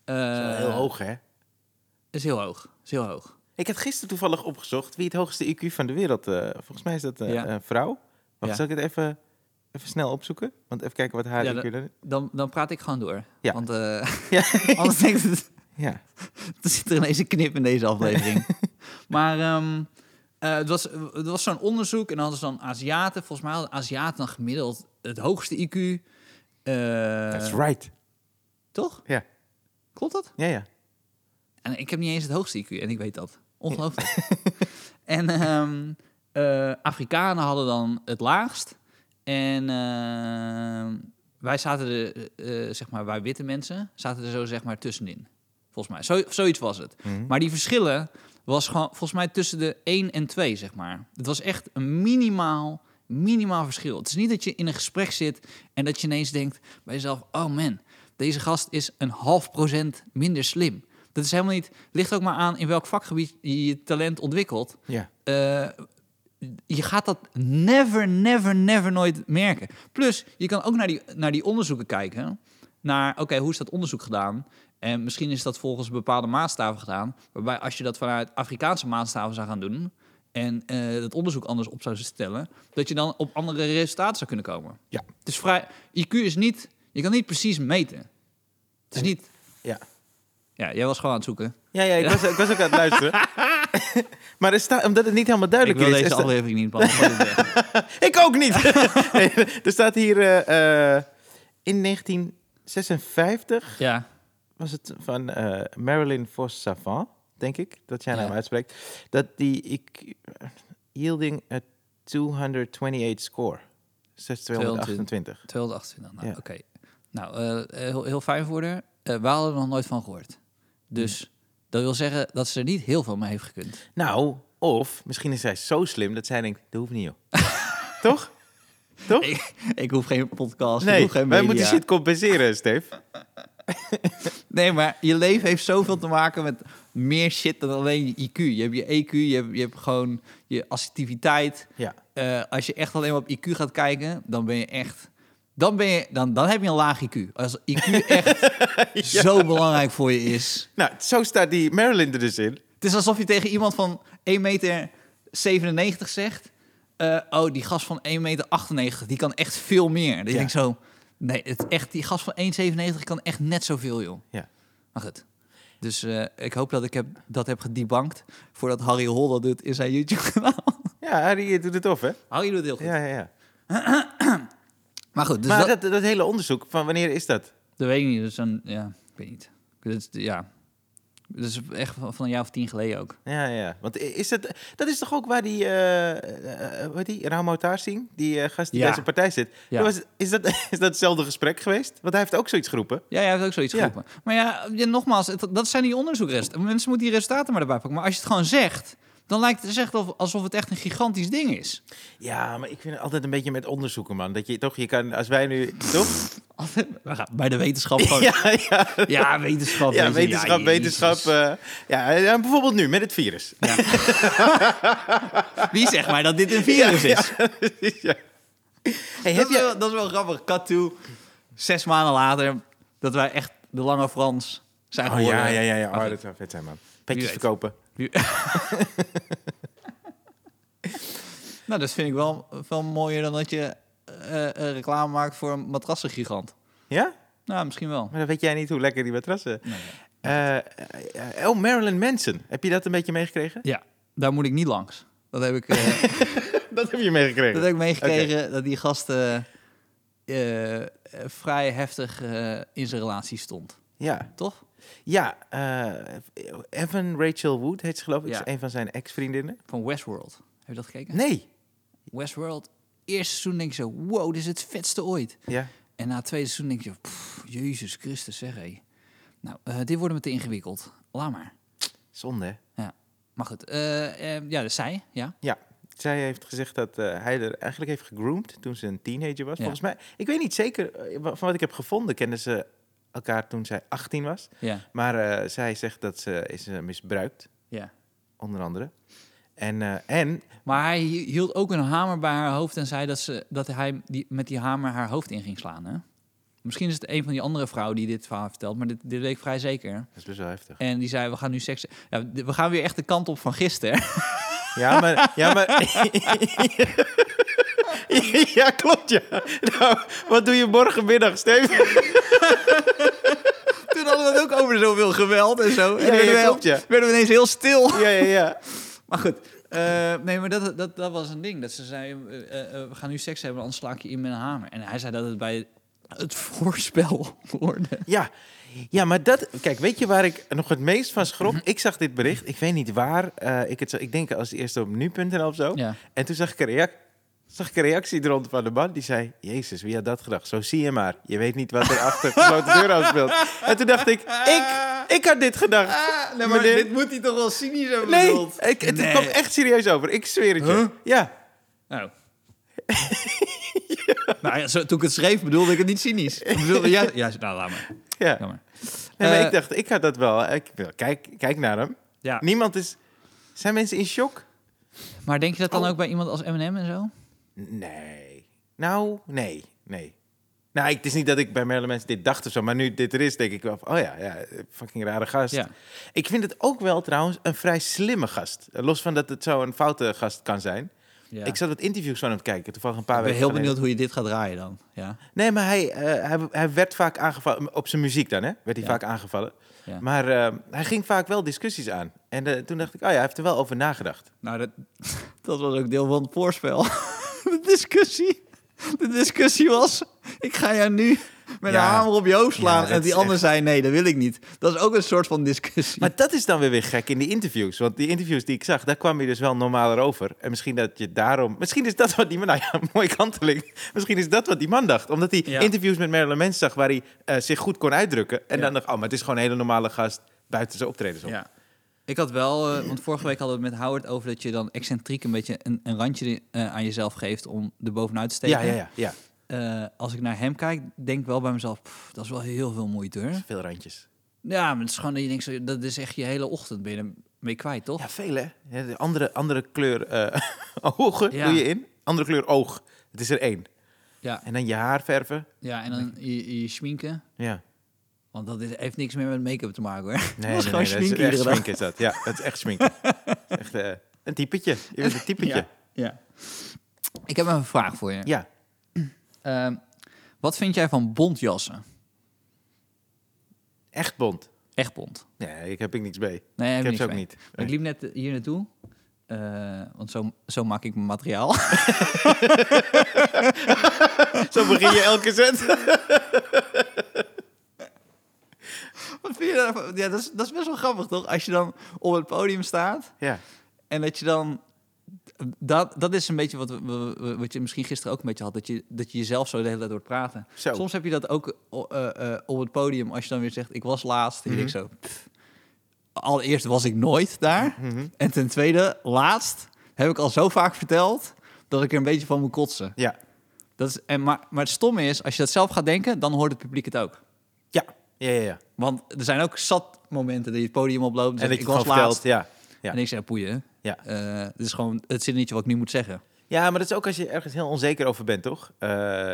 Speaker 1: Dat is wel
Speaker 2: eh,
Speaker 1: heel hoog, hè?
Speaker 2: Is heel hoog. Is heel hoog.
Speaker 1: Ik had gisteren toevallig opgezocht wie het hoogste IQ van de wereld... eh, volgens mij is dat eh,
Speaker 2: Ja.
Speaker 1: een vrouw. Wacht,
Speaker 2: Ja.
Speaker 1: zal ik het even, even snel opzoeken? Want even kijken wat haar
Speaker 2: Ja,
Speaker 1: IQ dan is.
Speaker 2: Dan, dan praat ik gewoon door.
Speaker 1: Ja.
Speaker 2: Want eh,
Speaker 1: Ja.
Speaker 2: anders denkt het,
Speaker 1: Ja.
Speaker 2: Eh. er zit er ineens een knip in deze aflevering. maar ehm, eh, het was, het was zo'n onderzoek en dan hadden ze dan Aziaten. Volgens mij hadden Aziaten dan gemiddeld het hoogste IQ. Eh,
Speaker 1: That's right.
Speaker 2: Toch?
Speaker 1: Ja.
Speaker 2: Klopt dat?
Speaker 1: Ja, ja.
Speaker 2: En ik heb niet eens het hoogste IQ en ik weet dat. Ongelooflijk. en ehm, eh, Afrikanen hadden dan het laagst. En ehm, wij zaten er, eh, eh, zeg maar, wij witte mensen zaten er zo zeg maar tussenin. Volgens mij. Zo, zoiets was het.
Speaker 1: Mhm.
Speaker 2: Maar die verschillen was gewoon volgens mij tussen de 1 en 2, zeg maar. Het was echt een minimaal, minimaal verschil. Het is niet dat je in een gesprek zit en dat je ineens denkt bij jezelf... oh man, deze gast is een half procent minder slim. Dat is helemaal niet... ligt ook maar aan in welk vakgebied je je talent ontwikkelt.
Speaker 1: ja.
Speaker 2: Eh, je gaat dat never, never, never nooit merken. Plus, je kan ook naar die, naar die onderzoeken kijken. Naar, oké, hoe is dat onderzoek gedaan? En misschien is dat volgens bepaalde maatstaven gedaan. Waarbij als je dat vanuit Afrikaanse maatstaven zou gaan doen... en eh dat onderzoek anders op zou stellen... dat je dan op andere resultaten zou kunnen komen.
Speaker 1: Ja.
Speaker 2: Het is vrij... IQ is niet... Je kan niet precies meten. Het is niet...
Speaker 1: Ja.
Speaker 2: Ja, jij was gewoon aan het zoeken.
Speaker 1: Ja, ja, ik was, ik was ook aan het luisteren. Maar er staat, omdat het niet helemaal
Speaker 2: ik
Speaker 1: duidelijk
Speaker 2: wil
Speaker 1: is... er
Speaker 2: deze
Speaker 1: sta-
Speaker 2: aflevering niet beantwoorden.
Speaker 1: Ik ook niet! Nee, er staat hier... eh, eh, in 1956
Speaker 2: ja,
Speaker 1: was het van eh, Marilyn Vos Savant, denk ik, dat jij
Speaker 2: Ja.
Speaker 1: naam uitspreekt. Dat die... Ik, eh, yielding a 228 score. 6228.
Speaker 2: 228. Nou,
Speaker 1: Ja.
Speaker 2: oké. Nou, eh, heel, heel fijn voor haar. Eh, we hadden er nog nooit van gehoord. Dus dat wil zeggen dat ze er niet heel veel mee heeft gekund.
Speaker 1: Nou, of misschien is zij zo slim dat zij denkt, dat hoeft niet, joh. Toch? Toch?
Speaker 2: Ik, ik hoef geen podcast, ik
Speaker 1: nee,
Speaker 2: hoef geen
Speaker 1: wij
Speaker 2: media.
Speaker 1: moeten shit compenseren, Steve.
Speaker 2: Nee, maar je leven heeft zoveel te maken met meer shit dan alleen je IQ. Je hebt je EQ, je hebt, je hebt gewoon je assertiviteit.
Speaker 1: Ja.
Speaker 2: Eh, als je echt alleen maar op IQ gaat kijken, dan ben je echt... Dan, ben je, dan, dan heb je een laag IQ. Als IQ echt zo belangrijk voor je is.
Speaker 1: Nou, zo staat die Marilyn er dus in.
Speaker 2: Het is alsof je tegen iemand van 1,97 meter zegt... eh, oh, die gast van 1,98 meter, die kan echt veel meer. Dan
Speaker 1: Ja.
Speaker 2: denk ik zo... Nee, het echt, die gast van 1,97 kan echt net zoveel, joh.
Speaker 1: Ja.
Speaker 2: Maar goed. Dus eh, ik hoop dat ik heb, dat heb gedebankt... voordat Harry Hol dat doet in zijn YouTube-kanaal.
Speaker 1: Ja, Harry je doet het tof, hè?
Speaker 2: Harry doet het heel goed.
Speaker 1: Ja, ja, ja.
Speaker 2: Maar goed, dus
Speaker 1: maar
Speaker 2: dat,
Speaker 1: dat, dat hele onderzoek, van wanneer is dat?
Speaker 2: dat weet ik niet. Dus dan, ja, ik weet niet. Dat is, ja. Dat is echt van van een jaar of tien geleden ook.
Speaker 1: Ja, ja. Want i- is dat, dat is toch ook waar die, eh eh, hoe heet die, Ramo Tarsing, die eh, gast die
Speaker 2: Ja.
Speaker 1: bij zijn partij zit.
Speaker 2: Ja.
Speaker 1: Dat was, is, dat, is dat hetzelfde gesprek geweest? Want hij heeft ook zoiets geroepen.
Speaker 2: Ja, jij hebt ook zoiets
Speaker 1: Ja.
Speaker 2: geroepen. Maar ja, ja, nogmaals, het- dat zijn die onderzoekresten. Mensen moeten die resultaten maar erbij pakken. Maar als je het gewoon zegt, dan lijkt het echt of- alsof het echt een gigantisch ding is.
Speaker 1: Ja, maar ik vind het altijd een beetje met onderzoeken, man. Dat je toch, je kan, als wij nu, toch?
Speaker 2: We gaan Bij de wetenschap gewoon. Ja,
Speaker 1: Ja, ja.
Speaker 2: wetenschap.
Speaker 1: Ja,
Speaker 2: weet je.
Speaker 1: wetenschap,
Speaker 2: Ja, jezus.
Speaker 1: wetenschap. eh, ja, en bijvoorbeeld nu met het virus.
Speaker 2: Wie zegt mij eh. dat dit een virus is?
Speaker 1: ja. Hey,
Speaker 2: Dat,
Speaker 1: heb
Speaker 2: is
Speaker 1: je,
Speaker 2: wel, dat is wel grappig. Cut to, zes maanden later, dat wij echt de lange Frans zijn
Speaker 1: oh
Speaker 2: geworden.
Speaker 1: ja, ja, ja, ja.
Speaker 2: Maar
Speaker 1: Oh,
Speaker 2: goed.
Speaker 1: dat zou vet zijn, man.
Speaker 2: Wie
Speaker 1: Petjes
Speaker 2: weet.
Speaker 1: verkopen.
Speaker 2: Nou, dat vind ik wel veel mooier dan dat je eh, eh, reclame maakt voor een matrassengigant.
Speaker 1: Ja?
Speaker 2: Nou, misschien wel.
Speaker 1: Maar dan weet jij niet hoe lekker die matrassen...
Speaker 2: Nee, nee.
Speaker 1: Eh, eh, eh, oh, Marilyn Manson. Heb je dat een beetje meegekregen?
Speaker 2: Ja, daar moet ik niet langs. Dat heb ik, eh,
Speaker 1: Dat heb je meegekregen.
Speaker 2: dat heb ik meegekregen dat die gast eh, eh, eh, vrij heftig eh, in zijn relatie stond.
Speaker 1: Ja,
Speaker 2: Toch?
Speaker 1: ja eh, Evan Rachel Wood heet ze geloof ik.
Speaker 2: Ja.
Speaker 1: Is een van zijn ex-vriendinnen.
Speaker 2: Van Westworld. Heb je dat gekeken?
Speaker 1: Nee.
Speaker 2: Westworld. Eerste seizoen denk je zo, wow, dit is het vetste ooit.
Speaker 1: Ja.
Speaker 2: En na het tweede seizoen denk je, pff, jezus Christus zeg hé. Nou, eh, dit wordt me te ingewikkeld. Laat maar.
Speaker 1: Zonde, hè?
Speaker 2: Ja. Maar goed, eh, eh, ja, dat is zij, ja.
Speaker 1: Ja. Zij heeft gezegd dat eh, hij er eigenlijk heeft gegroomd toen ze een teenager was.
Speaker 2: Ja.
Speaker 1: Volgens mij, ik weet niet zeker, eh, wa- van wat ik heb gevonden, kenden ze elkaar toen zij 18 was.
Speaker 2: Ja,
Speaker 1: Maar eh, zij zegt dat ze is eh, misbruikt,
Speaker 2: ja.
Speaker 1: onder andere. En, eh, en
Speaker 2: Maar hij hield ook een hamer bij haar hoofd en zei dat, ze, dat hij die, met die hamer haar hoofd in ging slaan. Hè? Misschien is het een van die andere vrouwen die dit verhaal vertelt, maar dit, dit weet ik vrij zeker.
Speaker 1: dat is best wel heftig.
Speaker 2: En die zei, we gaan nu seks... Ja, d- we gaan weer echt de kant op van gisteren.
Speaker 1: Ja, maar. Ja, maar... ja klopt ja. Nou, wat doe je morgenmiddag, Steven?
Speaker 2: Toen hadden we het ook over zoveel geweld en zo. En
Speaker 1: Ja, ja,
Speaker 2: werden, we,
Speaker 1: klopt, ja.
Speaker 2: werden we ineens heel stil.
Speaker 1: ja, ja, ja.
Speaker 2: Maar goed. eh, nee, maar dat, dat, dat was een ding. Dat ze zei, eh, eh, eh, we gaan nu seks hebben, anders sla ik je in met een hamer. En hij zei dat het bij het voorspel hoorde.
Speaker 1: Ja. Ja, maar dat... Kijk, weet je waar ik nog het meest van
Speaker 2: Mhm.
Speaker 1: schrok? Ik zag dit bericht. Ik weet niet waar. eh, ik, het, zag- ik denk als eerste op nu.nl of zo.
Speaker 2: Ja.
Speaker 1: En toen zag ik, een reac- zag ik een reactie eronder van de man. Die zei, jezus, wie had dat gedacht? Zo zie je maar. Je weet niet wat er achter gesloten deur afspeelt. En toen dacht ik, ik, ik had dit gedacht.
Speaker 2: Ah, nee,
Speaker 1: Meneer-
Speaker 2: moet hij toch wel cynisch hebben
Speaker 1: Nee,
Speaker 2: bedoeld?
Speaker 1: ik, het
Speaker 2: Nee.
Speaker 1: kwam echt serieus over. Ik zweer het je.
Speaker 2: Huh?
Speaker 1: Ja.
Speaker 2: Oh. Nou ja, zo, toen ik het schreef bedoelde ik het niet cynisch. Ik bedoelde, ja, ja, nou, laat maar.
Speaker 1: Ja.
Speaker 2: Laat maar.
Speaker 1: Nee, maar
Speaker 2: Eh,
Speaker 1: ik dacht, ik had dat wel. Ik, wil- kijk, kijk naar hem.
Speaker 2: Ja.
Speaker 1: Niemand is... Zijn mensen in shock?
Speaker 2: Maar denk je dat dan
Speaker 1: Oh.
Speaker 2: ook bij iemand als Eminem en zo?
Speaker 1: Nee. Nou, nee. Nee. Nou, ik- het is niet dat ik bij meerdere mensen dit dacht of zo. Maar nu dit er is, denk ik wel van, Oh ja, ja fucking rare gast.
Speaker 2: Ja.
Speaker 1: Ik vind het ook wel trouwens een vrij slimme gast. Eh, Los van dat het zo een foute gast kan zijn.
Speaker 2: Ja.
Speaker 1: Ik zat wat interviews van hem te kijken. Toevallig een paar
Speaker 2: ik ben
Speaker 1: weken
Speaker 2: heel
Speaker 1: geleden.
Speaker 2: benieuwd hoe je dit gaat draaien dan. Ja.
Speaker 1: Nee, maar hij, eh, hij, hij werd vaak aangevallen. Op zijn muziek dan, hè? Werd hij
Speaker 2: Ja.
Speaker 1: vaak aangevallen.
Speaker 2: Ja.
Speaker 1: Maar eh, hij ging vaak wel discussies aan. En eh, toen dacht ik, oh ja, hij heeft er wel over nagedacht.
Speaker 2: Nou, dat, dat was ook deel van het voorspel. De discussie. De discussie was, ik ga jou nu met
Speaker 1: Ja.
Speaker 2: een hamer op je hoofd
Speaker 1: Ja,
Speaker 2: slaan.
Speaker 1: dat
Speaker 2: en die
Speaker 1: is
Speaker 2: ander
Speaker 1: echt-
Speaker 2: zei, nee, dat wil ik niet. Dat is ook een soort van discussie.
Speaker 1: Maar dat is dan weer weer gek in de interviews. Want die interviews die ik zag, daar kwam je dus wel normaler over. En misschien dat je daarom... Misschien is dat wat die man... Nou ja, mooie kanteling. Misschien is dat wat die man dacht. Omdat hij
Speaker 2: Ja.
Speaker 1: interviews met Marilyn Manson zag waar hij eh, zich goed kon uitdrukken. En
Speaker 2: Ja.
Speaker 1: dan dacht oh, maar het is gewoon een hele normale gast buiten zijn optredens om.
Speaker 2: Ja. Ik had wel, eh, want vorige week hadden we het met Howard over dat je dan excentriek een beetje een, een randje eh, aan jezelf geeft om er bovenuit te steken.
Speaker 1: ja, ja, ja. ja.
Speaker 2: Eh, als ik naar hem kijk, denk ik wel bij mezelf, "Pff, dat is wel heel veel moeite hoor.
Speaker 1: Veel randjes.
Speaker 2: Ja, maar het is gewoon dat je denkt, zo, dat is echt je hele ochtend ben je er mee kwijt, toch?
Speaker 1: Ja, veel hè. Ja, de andere, andere kleur eh, ogen
Speaker 2: Ja.
Speaker 1: doe je in. Andere kleur oog. Het is er één.
Speaker 2: Ja,
Speaker 1: En dan je haar verven.
Speaker 2: ja en dan je, je schminken.
Speaker 1: Ja.
Speaker 2: Want dat is, heeft niks meer met make-up te maken hoor. dat
Speaker 1: Nee,
Speaker 2: is
Speaker 1: nee,
Speaker 2: gewoon
Speaker 1: nee, dat is
Speaker 2: schminken
Speaker 1: echt
Speaker 2: iedere dag.
Speaker 1: schminken is dat. Ja, dat is echt schminken. Dat is echt eh, een typetje. Je bent een typetje.
Speaker 2: Ja,
Speaker 1: Ja.
Speaker 2: ja. Ik heb een vraag voor je. Ehm, wat vind jij van bontjassen?
Speaker 1: echt bont.
Speaker 2: Echt bont.
Speaker 1: Nee, ik heb ik niks bij.
Speaker 2: Nee,
Speaker 1: ik
Speaker 2: heb
Speaker 1: heb
Speaker 2: niks
Speaker 1: ze ook
Speaker 2: mee.
Speaker 1: niet.
Speaker 2: Maar ik liep net hier naartoe. eh, want zo, zo maak ik mijn materiaal.
Speaker 1: Zo begin je elke zet.
Speaker 2: Wat vind je daarvan? Ja, dat is, dat is best wel grappig, toch? Als je dan op het podium staat
Speaker 1: ja.
Speaker 2: en dat je dan... Dat, dat is een beetje wat, we- we- we- wat je misschien gisteren ook een beetje had. Dat je, dat je jezelf zo de hele tijd hoort praten.
Speaker 1: Zo.
Speaker 2: Soms heb je dat ook o- eh, eh, op het podium. Als je dan weer zegt, ik was laatst. En je denkt zo... pff. Allereerst was ik nooit daar. En ten tweede, laatst, heb ik al zo vaak verteld... dat ik er een beetje van moet kotsen.
Speaker 1: Ja.
Speaker 2: Dat is, en, maar, maar het stomme is, als je dat zelf gaat denken, dan hoort het publiek het ook.
Speaker 1: Ja. Ja, ja, ja.
Speaker 2: Want er zijn ook zat momenten dat je het podium oploopt.
Speaker 1: En
Speaker 2: En
Speaker 1: dat je
Speaker 2: Dus ik
Speaker 1: het
Speaker 2: was
Speaker 1: gewoon vertelt.
Speaker 2: laatst.
Speaker 1: Ja. Ja.
Speaker 2: En ik zeg, ja, poeien.
Speaker 1: Ja.
Speaker 2: Eh, dit is gewoon het zinnetje wat ik nu moet zeggen.
Speaker 1: ja, maar dat is ook als je ergens heel onzeker over bent, toch? Eh,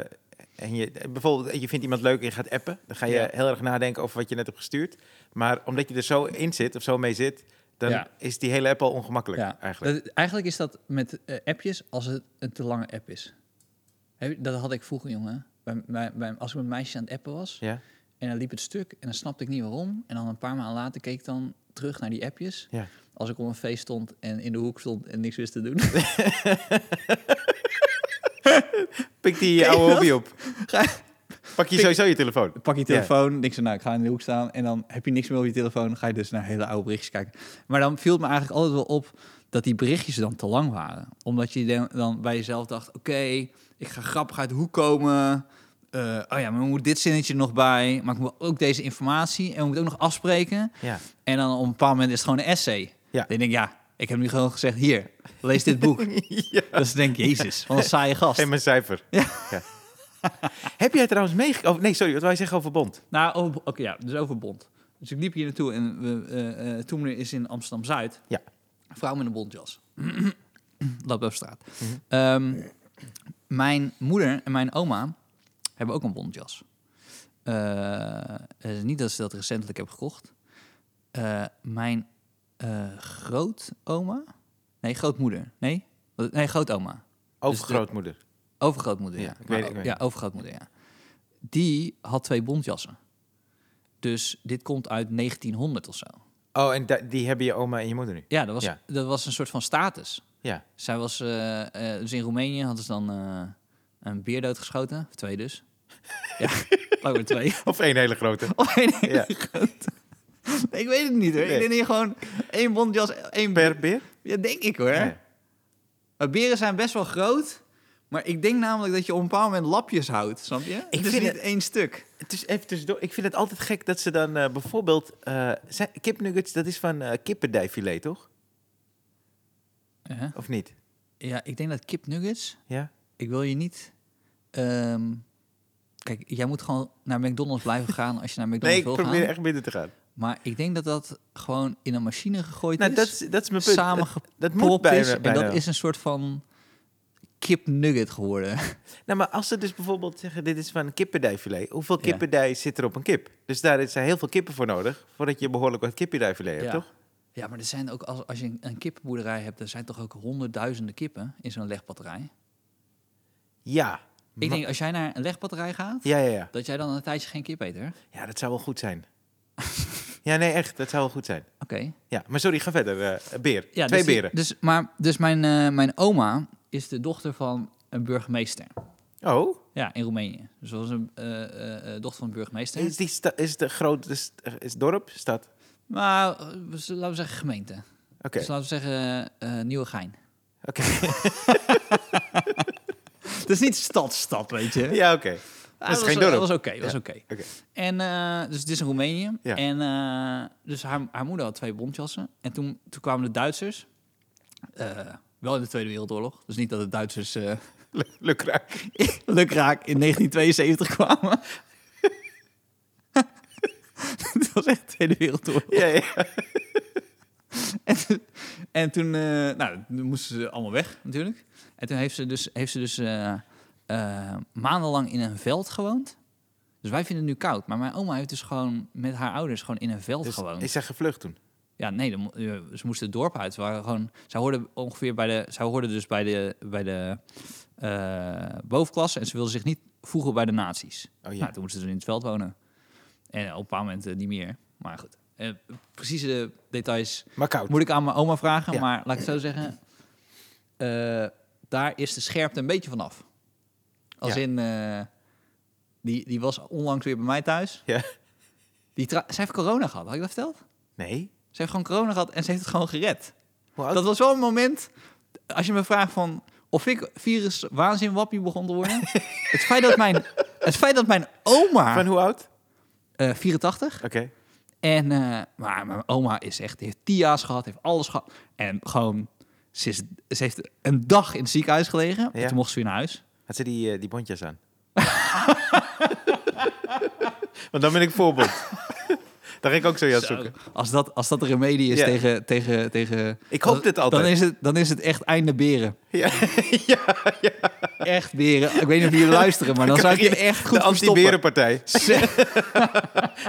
Speaker 1: en je, bijvoorbeeld, je vindt iemand leuk en je gaat appen. Dan ga je
Speaker 2: Ja.
Speaker 1: heel erg nadenken over wat je net hebt gestuurd. Maar omdat je er zo in zit of zo mee zit, dan
Speaker 2: Ja.
Speaker 1: is die hele app al ongemakkelijk eigenlijk.
Speaker 2: Dat- eigenlijk is dat met eh, appjes als het een te lange app is. Heb je- Dat had ik vroeger, jongen. Bij, bij, bij- als ik met meisjes aan het appen was
Speaker 1: Ja?
Speaker 2: en dan liep het stuk en dan snapte ik niet waarom. En dan een paar maanden later keek ik dan terug naar die appjes.
Speaker 1: Ja.
Speaker 2: Als ik op een feest stond en in de hoek stond en niks wist te doen.
Speaker 1: Pik die eh, oude
Speaker 2: dat?
Speaker 1: hobby op.
Speaker 2: Ga-
Speaker 1: Pak je sowieso je telefoon.
Speaker 2: pak je
Speaker 1: Ja.
Speaker 2: telefoon, denk je, nou, ik ga in de hoek staan. En dan heb je niks meer op je telefoon. Dan ga je dus naar hele oude berichtjes kijken. Maar dan viel het me eigenlijk altijd wel op dat die berichtjes dan te lang waren. Omdat je dan- dan bij jezelf dacht, oké, ik ga grappig uit de hoek komen. Eh, oh ja, maar moet dit zinnetje er nog bij. Maar ik moet ook deze informatie. En we moeten ook nog afspreken.
Speaker 1: Ja.
Speaker 2: En dan op een bepaald moment is het gewoon een essay.
Speaker 1: Ja.
Speaker 2: Dan denk ik, ja, ik heb nu gewoon gezegd, hier, lees dit boek.
Speaker 1: ja.
Speaker 2: dus dan denk ik, jezus, wat een saaie gast.
Speaker 1: En mijn cijfer. Ja. Heb jij trouwens meegekomen? nee, sorry, wat wij zeggen over Bond.
Speaker 2: Nou, over- oké, ja, dus over Bond. Dus ik liep hier naartoe en we, eh, eh, toen is in Amsterdam-Zuid.
Speaker 1: Ja.
Speaker 2: Een vrouw met een bontjas. Loopt op straat. Ehm, mijn moeder en mijn oma hebben ook een bontjas. Eh, het is niet dat ze dat recentelijk hebben gekocht. Eh, mijn eh, grootoma? Nee, grootmoeder. Nee, Wat- nee grootoma.
Speaker 1: Overgrootmoeder.
Speaker 2: Overgrootmoeder, ja.
Speaker 1: Ja, ik
Speaker 2: Maar
Speaker 1: weet-
Speaker 2: o-
Speaker 1: ik weet
Speaker 2: ja, overgrootmoeder, ja. Die had twee bontjassen. Dus dit komt uit 1900 of zo.
Speaker 1: Oh, en da- die hebben je oma en je moeder nu?
Speaker 2: Ja, dat was,
Speaker 1: Ja.
Speaker 2: Dat was een soort van status.
Speaker 1: Ja.
Speaker 2: Zij was, eh, eh, dus in Roemenië hadden ze dan eh, een beer doodgeschoten. Of twee dus. ja, ook maar twee.
Speaker 1: Of één hele grote.
Speaker 2: Of één hele
Speaker 1: Ja.
Speaker 2: grote. Ik weet het niet hoor.
Speaker 1: Nee.
Speaker 2: Ik denk hier gewoon één bontjas, één beer.
Speaker 1: Per beer?
Speaker 2: Ja, denk ik hoor.
Speaker 1: Ja.
Speaker 2: Maar beren zijn best wel groot. Maar ik denk namelijk dat je op een bepaald moment lapjes houdt, snap je? het is
Speaker 1: vind
Speaker 2: niet
Speaker 1: het-
Speaker 2: één stuk.
Speaker 1: Het is even tussendoor. Ik vind het altijd gek dat ze dan eh, bijvoorbeeld... eh, zijn- kipnuggets, dat is van eh kippendijfilet, toch?
Speaker 2: Ja.
Speaker 1: Of niet?
Speaker 2: Ja, ik denk dat kipnuggets...
Speaker 1: Ja?
Speaker 2: Ik wil je niet... ehm, kijk, jij moet gewoon naar McDonald's blijven gaan als je naar
Speaker 1: Nee,
Speaker 2: McDonald's
Speaker 1: ik
Speaker 2: wil gaan.
Speaker 1: probeer echt binnen te gaan.
Speaker 2: Maar ik denk dat dat gewoon in een machine gegooid
Speaker 1: Nou,
Speaker 2: is.
Speaker 1: dat is, dat is mijn punt. dat,
Speaker 2: Samengepropt
Speaker 1: dat moet bijna,
Speaker 2: is. En
Speaker 1: bijna
Speaker 2: dat
Speaker 1: wel.
Speaker 2: is een soort van kipnugget geworden.
Speaker 1: Nou, maar als ze dus bijvoorbeeld zeggen, dit is van een kippendijfilet. Hoeveel kippendij zit er op een kip? Dus daar zijn heel veel kippen voor nodig, voordat je behoorlijk wat kippendijfilet hebt, toch?
Speaker 2: ja, maar er zijn ook, als, als je een, een kippenboerderij hebt, er zijn toch ook honderdduizenden kippen in zo'n legbatterij.
Speaker 1: Ja.
Speaker 2: Ik
Speaker 1: Ma-
Speaker 2: denk, als jij naar een legbatterij gaat,
Speaker 1: Ja, ja, ja.
Speaker 2: dat jij dan een tijdje geen kip eet, hè?
Speaker 1: Ja, dat zou wel goed zijn. Ja, nee, echt. Dat zou wel goed zijn.
Speaker 2: Oké.
Speaker 1: Ja, maar sorry, ga verder. eh, beer.
Speaker 2: Ja,
Speaker 1: Twee
Speaker 2: dus die-
Speaker 1: beren.
Speaker 2: Dus, maar, dus mijn, eh, mijn oma is de dochter van een burgemeester. dus-
Speaker 1: Oh,
Speaker 2: Ja, in Roemenië. Dus dat was een eh, eh, eh, dochter van een burgemeester.
Speaker 1: is, die sta- is de grote... Is, is het dorp? Stad? Oké.
Speaker 2: Maar eh, we z- laten we zeggen gemeente. Dus laten we zeggen eh Nieuwegein.
Speaker 1: Oké.
Speaker 2: Het is niet stad-stad, weet je.
Speaker 1: Ja, oké.
Speaker 2: Ah,
Speaker 1: dat is
Speaker 2: was,
Speaker 1: geen dorp.
Speaker 2: Dat was oké, dat was
Speaker 1: Ja,
Speaker 2: oké.
Speaker 1: oké.
Speaker 2: En eh, dus dit is in Roemenië.
Speaker 1: Ja.
Speaker 2: En eh, dus haar, haar moeder had twee bontjassen. En toen, toen kwamen de Duitsers. eh, wel in de Tweede Wereldoorlog. Dus niet dat de Duitsers eh
Speaker 1: Le- Lukraak.
Speaker 2: lukraak in 1972 kwamen. Het was echt de Tweede Wereldoorlog.
Speaker 1: Ja, ja.
Speaker 2: En toen, eh, nou, toen moesten ze allemaal weg natuurlijk. En toen heeft ze dus, heeft ze dus eh, eh, maandenlang in een veld gewoond. Dus wij vinden het nu koud. Maar mijn oma heeft dus gewoon met haar ouders gewoon in een veld
Speaker 1: Dus
Speaker 2: gewoond.
Speaker 1: is zij gevlucht toen?
Speaker 2: Ja, nee, dan mo- eh, ze moesten het dorp uit. Ze waren gewoon, zij hoorden ongeveer bij de, zij hoorden dus bij de, bij de eh, bovenklasse en ze wilden zich niet voegen bij de nazi's.
Speaker 1: Oh ja.
Speaker 2: Nou, toen moesten ze in het veld wonen. En op een bepaald moment eh, niet meer. Maar goed, Eh, precieze details
Speaker 1: Maar koud.
Speaker 2: moet ik aan mijn oma vragen.
Speaker 1: Ja.
Speaker 2: Maar laat ik het zo zeggen, eh, daar is de scherpte een beetje vanaf. Als
Speaker 1: Ja.
Speaker 2: in, eh, die, die was onlangs weer bij mij thuis.
Speaker 1: Ja.
Speaker 2: Die tra- zij heeft corona gehad, had ik dat verteld?
Speaker 1: Nee?
Speaker 2: Ze heeft gewoon corona gehad en ze heeft het gewoon gered.
Speaker 1: Hoe oud?
Speaker 2: Dat was wel een moment, als je me vraagt van of ik virus waanzin wappie begon te worden. het, feit dat mijn, het feit dat mijn oma,
Speaker 1: Van hoe oud?
Speaker 2: eh, 84,
Speaker 1: Oké.
Speaker 2: en, eh, maar mijn oma is echt, heeft tia's gehad, heeft alles gehad. En gewoon, ze, is, ze heeft een dag in het ziekenhuis gelegen. En
Speaker 1: Ja.
Speaker 2: toen mocht ze weer naar huis.
Speaker 1: Had ze die, eh, die bondjes aan? Want dan ben ik voorbeeld. Daar ging ik ook zo jas
Speaker 2: Zo,
Speaker 1: zoeken.
Speaker 2: als, dat, als dat de remedie is
Speaker 1: Ja.
Speaker 2: tegen, tegen, tegen...
Speaker 1: Ik hoop
Speaker 2: dan-
Speaker 1: dit altijd.
Speaker 2: Dan is het, dan is het echt einde beren.
Speaker 1: Ja, ja, ja.
Speaker 2: Echt beren. Ik weet niet of jullie luisteren, maar dan zou ik
Speaker 1: je
Speaker 2: je echt goed
Speaker 1: De
Speaker 2: verstoppen.
Speaker 1: anti-berenpartij.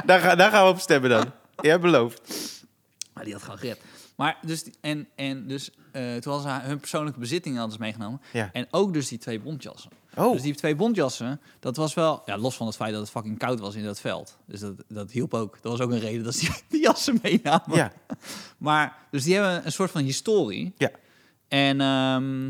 Speaker 1: Daar, ga- daar gaan we op stemmen dan. Jij
Speaker 2: Dus
Speaker 1: belooft.
Speaker 2: Maar die had gewoon gered. Maar dus, die- en, en dus eh, toen hadden ze haar- hun persoonlijke bezittingen hadden ze meegenomen.
Speaker 1: Ja.
Speaker 2: En ook dus die twee bontjassen.
Speaker 1: Oh.
Speaker 2: Dus die twee bontjassen, dat was wel... Ja, los van het feit dat het fucking koud was in dat veld. Dus dat, dat hielp ook. Dat was ook een reden dat ze die, die jassen meenamen.
Speaker 1: Ja.
Speaker 2: Maar, dus die hebben een soort van historie.
Speaker 1: Ja.
Speaker 2: En, ehm,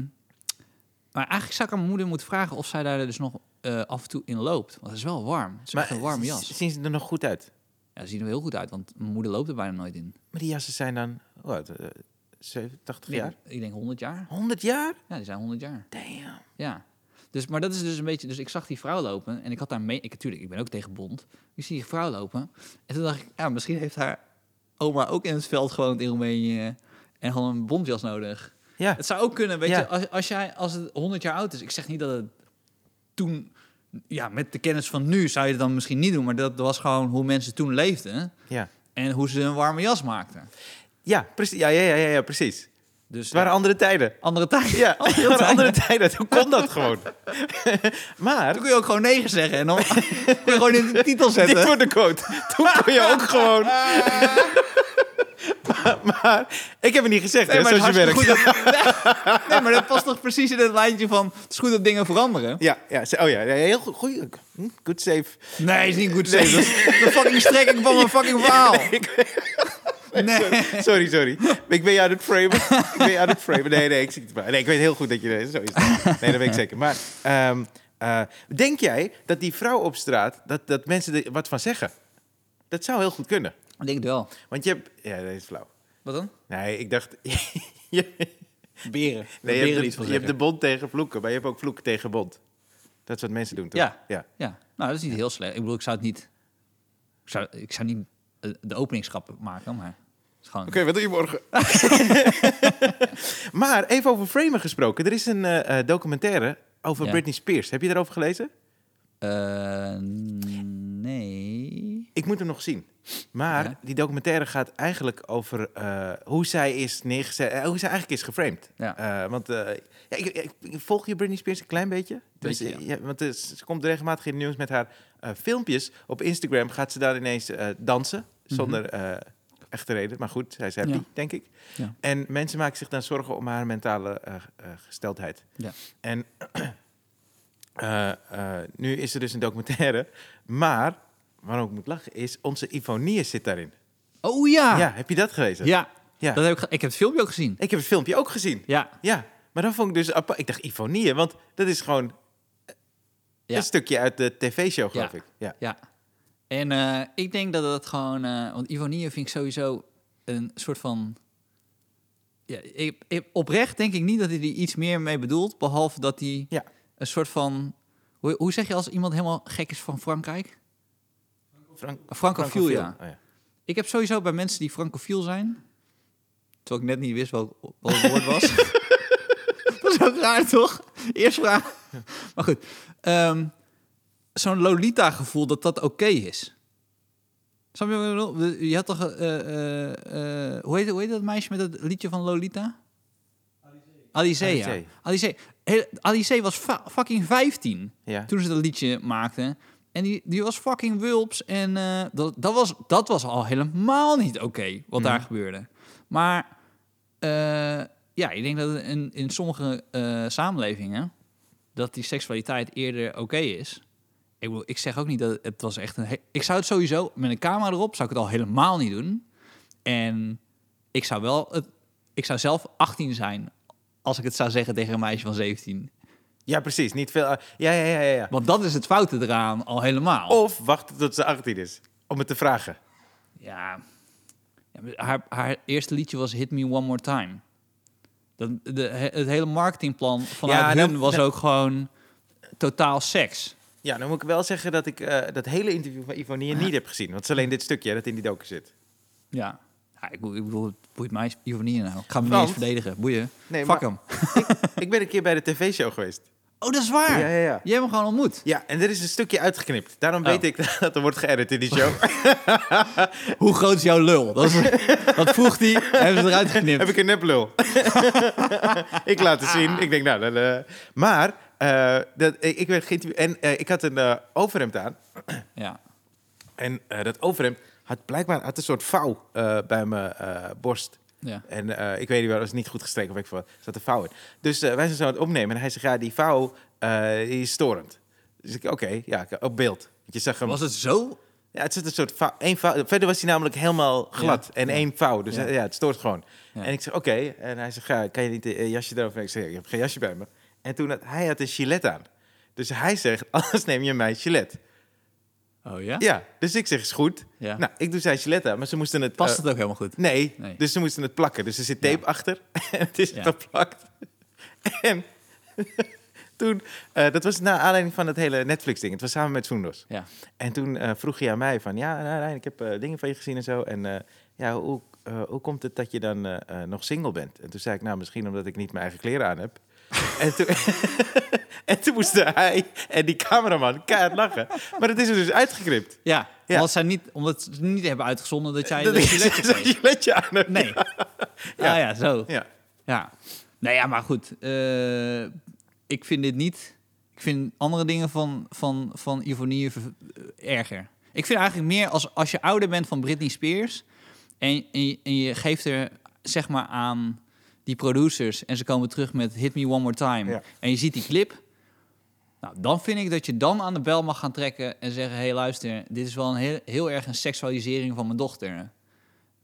Speaker 2: maar eigenlijk zou ik aan mijn moeder moeten vragen of zij daar dus nog eh, af en toe in loopt. Want het is wel warm. Het is echt een warme jas.
Speaker 1: z- Zien ze er nog goed uit?
Speaker 2: Ja, dat ziet er heel goed uit, want mijn moeder loopt er bijna nooit in.
Speaker 1: Maar die jassen zijn dan... Hoe oud? Eh, 87 jaar?
Speaker 2: Ik denk 100 jaar.
Speaker 1: 100 jaar?
Speaker 2: Ja, die zijn 100 jaar.
Speaker 1: Damn.
Speaker 2: Ja. Dus, maar dat is dus een beetje... Dus ik zag die vrouw lopen en ik had daar mee... Ik, natuurlijk, ik ben ook tegen bond. Ik zie die vrouw lopen. En toen dacht ik, ja, misschien heeft haar oma ook in het veld gewoond in Roemenië... en gewoon een bondjas nodig.
Speaker 1: Ja.
Speaker 2: Het zou ook kunnen, weet
Speaker 1: Ja.
Speaker 2: je, als, als, jij, als het 100 jaar oud is... Ik zeg niet dat het toen... Ja, met de kennis van nu zou je het dan misschien niet doen... maar dat was gewoon hoe mensen toen leefden...
Speaker 1: Ja.
Speaker 2: en hoe ze een warme jas maakten.
Speaker 1: Ja, precies. Ja, ja, ja, ja, ja, precies.
Speaker 2: Dus
Speaker 1: Het waren andere tijden.
Speaker 2: andere tijden.
Speaker 1: Ja,
Speaker 2: Andere
Speaker 1: het waren
Speaker 2: tijden.
Speaker 1: andere tijden. Hoe kon dat gewoon? maar...
Speaker 2: Dan kun je ook gewoon negen zeggen en dan kun je gewoon in de titel zetten.
Speaker 1: Dit wordt de quote. Toen kon je ook gewoon. maar, maar ik heb het niet gezegd, hè,
Speaker 2: maar
Speaker 1: zoals je
Speaker 2: het is
Speaker 1: werkt.
Speaker 2: hartstikke goed dat- nee, maar dat past toch precies in het lijntje van... het is goed dat dingen veranderen.
Speaker 1: Ja, ja, ze- oh ja, ja, heel goed. goeie- hm, Good save.
Speaker 2: Nee, is niet goed te zeggen. Dat is de fucking strekking van mijn fucking verhaal. Nee.
Speaker 1: Sorry, sorry. Ik ben je aan het framen. ik ben je aan het framen. Nee, nee, ik zie het maar. Nee, ik weet heel goed dat je... Nee, zo is het. Nee, dat weet ik zeker. Maar ehm, eh, denk jij dat die vrouw op straat, dat, dat mensen er wat van zeggen? Dat zou heel goed kunnen.
Speaker 2: Ik denk het wel.
Speaker 1: Want je hebt... Ja, dat is flauw.
Speaker 2: Wat dan?
Speaker 1: Nee, ik dacht... je-
Speaker 2: Beren.
Speaker 1: Nee, je,
Speaker 2: beren
Speaker 1: hebt
Speaker 2: iets
Speaker 1: de,
Speaker 2: van
Speaker 1: je hebt de bond tegen vloeken, maar je hebt ook vloeken tegen bond. Dat is wat mensen doen, toch?
Speaker 2: Ja.
Speaker 1: ja.
Speaker 2: Ja, nou, dat is niet heel slecht. Ik bedoel, ik zou het niet... Ik zou, ik zou niet eh, de openingsgrappen maken, maar... Het is gewoon...
Speaker 1: Oké, wat doe je morgen? maar even over framen gesproken. Er is een eh, eh, documentaire over
Speaker 2: Ja.
Speaker 1: Britney Spears. Heb je daarover gelezen?
Speaker 2: Eh, nee...
Speaker 1: Ik moet hem nog zien. Maar
Speaker 2: Ja.
Speaker 1: die documentaire gaat eigenlijk over eh, hoe zij is neergezet, eh, hoe zij eigenlijk is geframed.
Speaker 2: Ja.
Speaker 1: Eh, want eh, ja, ik, ik- ik- volg je Britney Spears een klein beetje.
Speaker 2: Beetje,
Speaker 1: Dus, eh, ja, want eh, ze ze komt regelmatig in het nieuws met haar eh, filmpjes. Op Instagram gaat ze daar ineens eh, dansen zonder eh, echte reden. Maar goed, zij is happy,
Speaker 2: Mhm. Ja.
Speaker 1: denk ik.
Speaker 2: Ja.
Speaker 1: En mensen maken zich dan zorgen om haar mentale eh, eh, gesteldheid.
Speaker 2: Ja.
Speaker 1: En eh, eh, nu is er dus een documentaire. Maar, waarom ik moet lachen, is onze Ivonier zit daarin.
Speaker 2: Oh ja!
Speaker 1: Ja, heb je dat gelezen?
Speaker 2: Ja.
Speaker 1: Ja.
Speaker 2: Dat heb ik, ge- ik heb het filmpje ook gezien.
Speaker 1: Ik heb het filmpje ook gezien.
Speaker 2: Ja.
Speaker 1: Ja, maar dan vond ik dus apart. Ik dacht ironie, want dat is gewoon eh,
Speaker 2: Ja.
Speaker 1: een stukje uit de tv-show, geloof
Speaker 2: Ja.
Speaker 1: ik. Ja.
Speaker 2: ja. En eh, ik denk dat dat gewoon... eh, want Ivonie vind ik sowieso een soort van... Ja, ik, ik- oprecht denk ik niet dat hij er iets meer mee bedoelt. Behalve dat hij
Speaker 1: Ja.
Speaker 2: een soort van... Hoe, hoe zeg je als iemand helemaal gek is van Frankrijk?
Speaker 1: Frank,
Speaker 2: Francofiel, ja.
Speaker 1: Oh, ja.
Speaker 2: Ik heb sowieso bij mensen die francofiel zijn... Terwijl ik net niet wist wat, wat het woord was. dat is ook raar, toch? Eerst vraag. Maar goed. ehm, Zo'n Lolita-gevoel dat dat oké is. Snap je wat ik bedoel? Je had toch... eh, eh, eh, hoe, heet, hoe heet dat meisje met het liedje van Lolita? Alizee. ja.
Speaker 1: Alizée.
Speaker 2: Alizée. Heel- Alizée was fa- fucking 15
Speaker 1: Ja.
Speaker 2: toen ze dat liedje maakte. En die, die was fucking wulps. En eh, dat, dat, was, dat was al helemaal niet oké wat daar gebeurde. Maar eh, ja, ik denk dat het in, in sommige eh, samenlevingen dat die seksualiteit eerder oké is. Ik, bedoel, ik zeg ook niet dat het was echt een. he- Ik zou het sowieso met een camera erop zou ik het al helemaal niet doen. En ik zou wel het. Ik zou zelf 18 zijn als ik het zou zeggen tegen een meisje van 17.
Speaker 1: Ja, precies. Niet veel. eh, Ja, ja, ja, ja. ja.
Speaker 2: Want dat is het foute eraan al helemaal.
Speaker 1: Of wachten tot ze 18 is om het te vragen.
Speaker 2: Ja. Ja, maar haar, haar eerste liedje was Hit Me One More Time. Dat, de, he- het hele marketingplan vanuit
Speaker 1: Ja,
Speaker 2: hun
Speaker 1: nou,
Speaker 2: was
Speaker 1: nou-
Speaker 2: ook gewoon totaal seks.
Speaker 1: Ja, dan moet ik wel zeggen dat ik eh, dat hele interview van Ivonie
Speaker 2: Ah.
Speaker 1: niet heb gezien. Want het is alleen dit stukje hè, dat in die doken zit.
Speaker 2: Ja. Ja, ik, bedoel- ik bedoel, het boeit mij Ivonie nou. Ik ga hem niet
Speaker 1: Want-
Speaker 2: eens verdedigen. Boeien.
Speaker 1: Nee,
Speaker 2: Fuck
Speaker 1: maar-
Speaker 2: hem.
Speaker 1: ik ben een keer bij de tv-show geweest.
Speaker 2: Oh, dat is waar.
Speaker 1: Ja, ja, ja.
Speaker 2: Jij hebt hem gewoon ontmoet.
Speaker 1: Ja, en er is een stukje uitgeknipt. Daarom weet
Speaker 2: Oh.
Speaker 1: ik dat er wordt geëdit in die show.
Speaker 2: Hoe groot is jouw lul? Dat, is, dat vroeg hij. Hebben ze eruit geknipt.
Speaker 1: Heb ik een neplul? ik laat het zien. Ik denk, nou, dan, eh, maar eh, dat, ik, ik werd geïnterviewd en eh, ik had een eh, overhemd aan.
Speaker 2: Ja.
Speaker 1: En eh, dat overhemd had blijkbaar had een soort vouw eh, bij mijn eh, borst.
Speaker 2: ja.
Speaker 1: En eh, ik weet niet wel, dat is niet goed gestreken of ik van, zat een vouw in. Dus eh, wij zijn zo aan het opnemen en hij zegt, ja, die vouw eh, die is storend. Dus ik, oké, ja, ik- op beeld. Want Je zag hem.
Speaker 2: Was het zo?
Speaker 1: Ja, het zit een soort vouw, één vouw. Verder was hij namelijk helemaal glad en één vouw. Dus
Speaker 2: Ja.
Speaker 1: ja, ja het stoort gewoon.
Speaker 2: Ja.
Speaker 1: En ik zeg, oké. En hij zegt, ja, kan je niet een jasje erover? Ik zeg, ik heb geen jasje bij me. En toen had hij had een gilet aan. Dus hij zegt, anders neem je mijn gilet.
Speaker 2: Oh ja?
Speaker 1: Ja, dus ik zeg, is goed.
Speaker 2: Ja.
Speaker 1: Nou, ik doe zijn gilet aan, maar ze moesten het...
Speaker 2: Past
Speaker 1: eh,
Speaker 2: het ook helemaal goed?
Speaker 1: nee,
Speaker 2: Nee.
Speaker 1: dus ze moesten het plakken. Dus er zit tape
Speaker 2: Ja.
Speaker 1: achter en het is
Speaker 2: Ja.
Speaker 1: geplakt. En toen, eh, dat was naar aanleiding van het hele Netflix-ding. Het was samen met Soendos.
Speaker 2: Ja.
Speaker 1: En toen eh, vroeg hij aan mij van, ja, nou, Rijn, ik heb eh, dingen van je gezien en zo. En eh, ja, hoe, eh, hoe komt het dat je dan eh, eh, nog single bent? En toen zei ik, nou, misschien omdat ik niet mijn eigen kleren aan heb. en, toen, en toen moesten hij en die cameraman keihard lachen. Maar dat is er dus uitgeknipt.
Speaker 2: Ja.
Speaker 1: Ja.
Speaker 2: Omdat, zij niet, omdat ze niet hebben uitgezonden dat jij
Speaker 1: dat
Speaker 2: de
Speaker 1: ik
Speaker 2: giletje
Speaker 1: zo'n
Speaker 2: kreeg.
Speaker 1: giletje aan heb.
Speaker 2: Nee. Ja.
Speaker 1: Ja.
Speaker 2: ja, zo.
Speaker 1: Ja.
Speaker 2: Ja. Nou ja, maar goed. eh, ik vind dit niet... Ik vind andere dingen van, van, van Ivonie ver- eh, erger. Ik vind eigenlijk meer als, als je ouder bent van Britney Spears... En, en, je- en je geeft er zeg maar aan die producers... en ze komen terug met Hit Me One More Time...
Speaker 1: Ja.
Speaker 2: en je ziet die clip... Nou, dan vind ik dat je dan aan de bel mag gaan trekken en zeggen... hé, hey, luister, dit is wel een heel, heel erg een seksualisering van mijn dochter.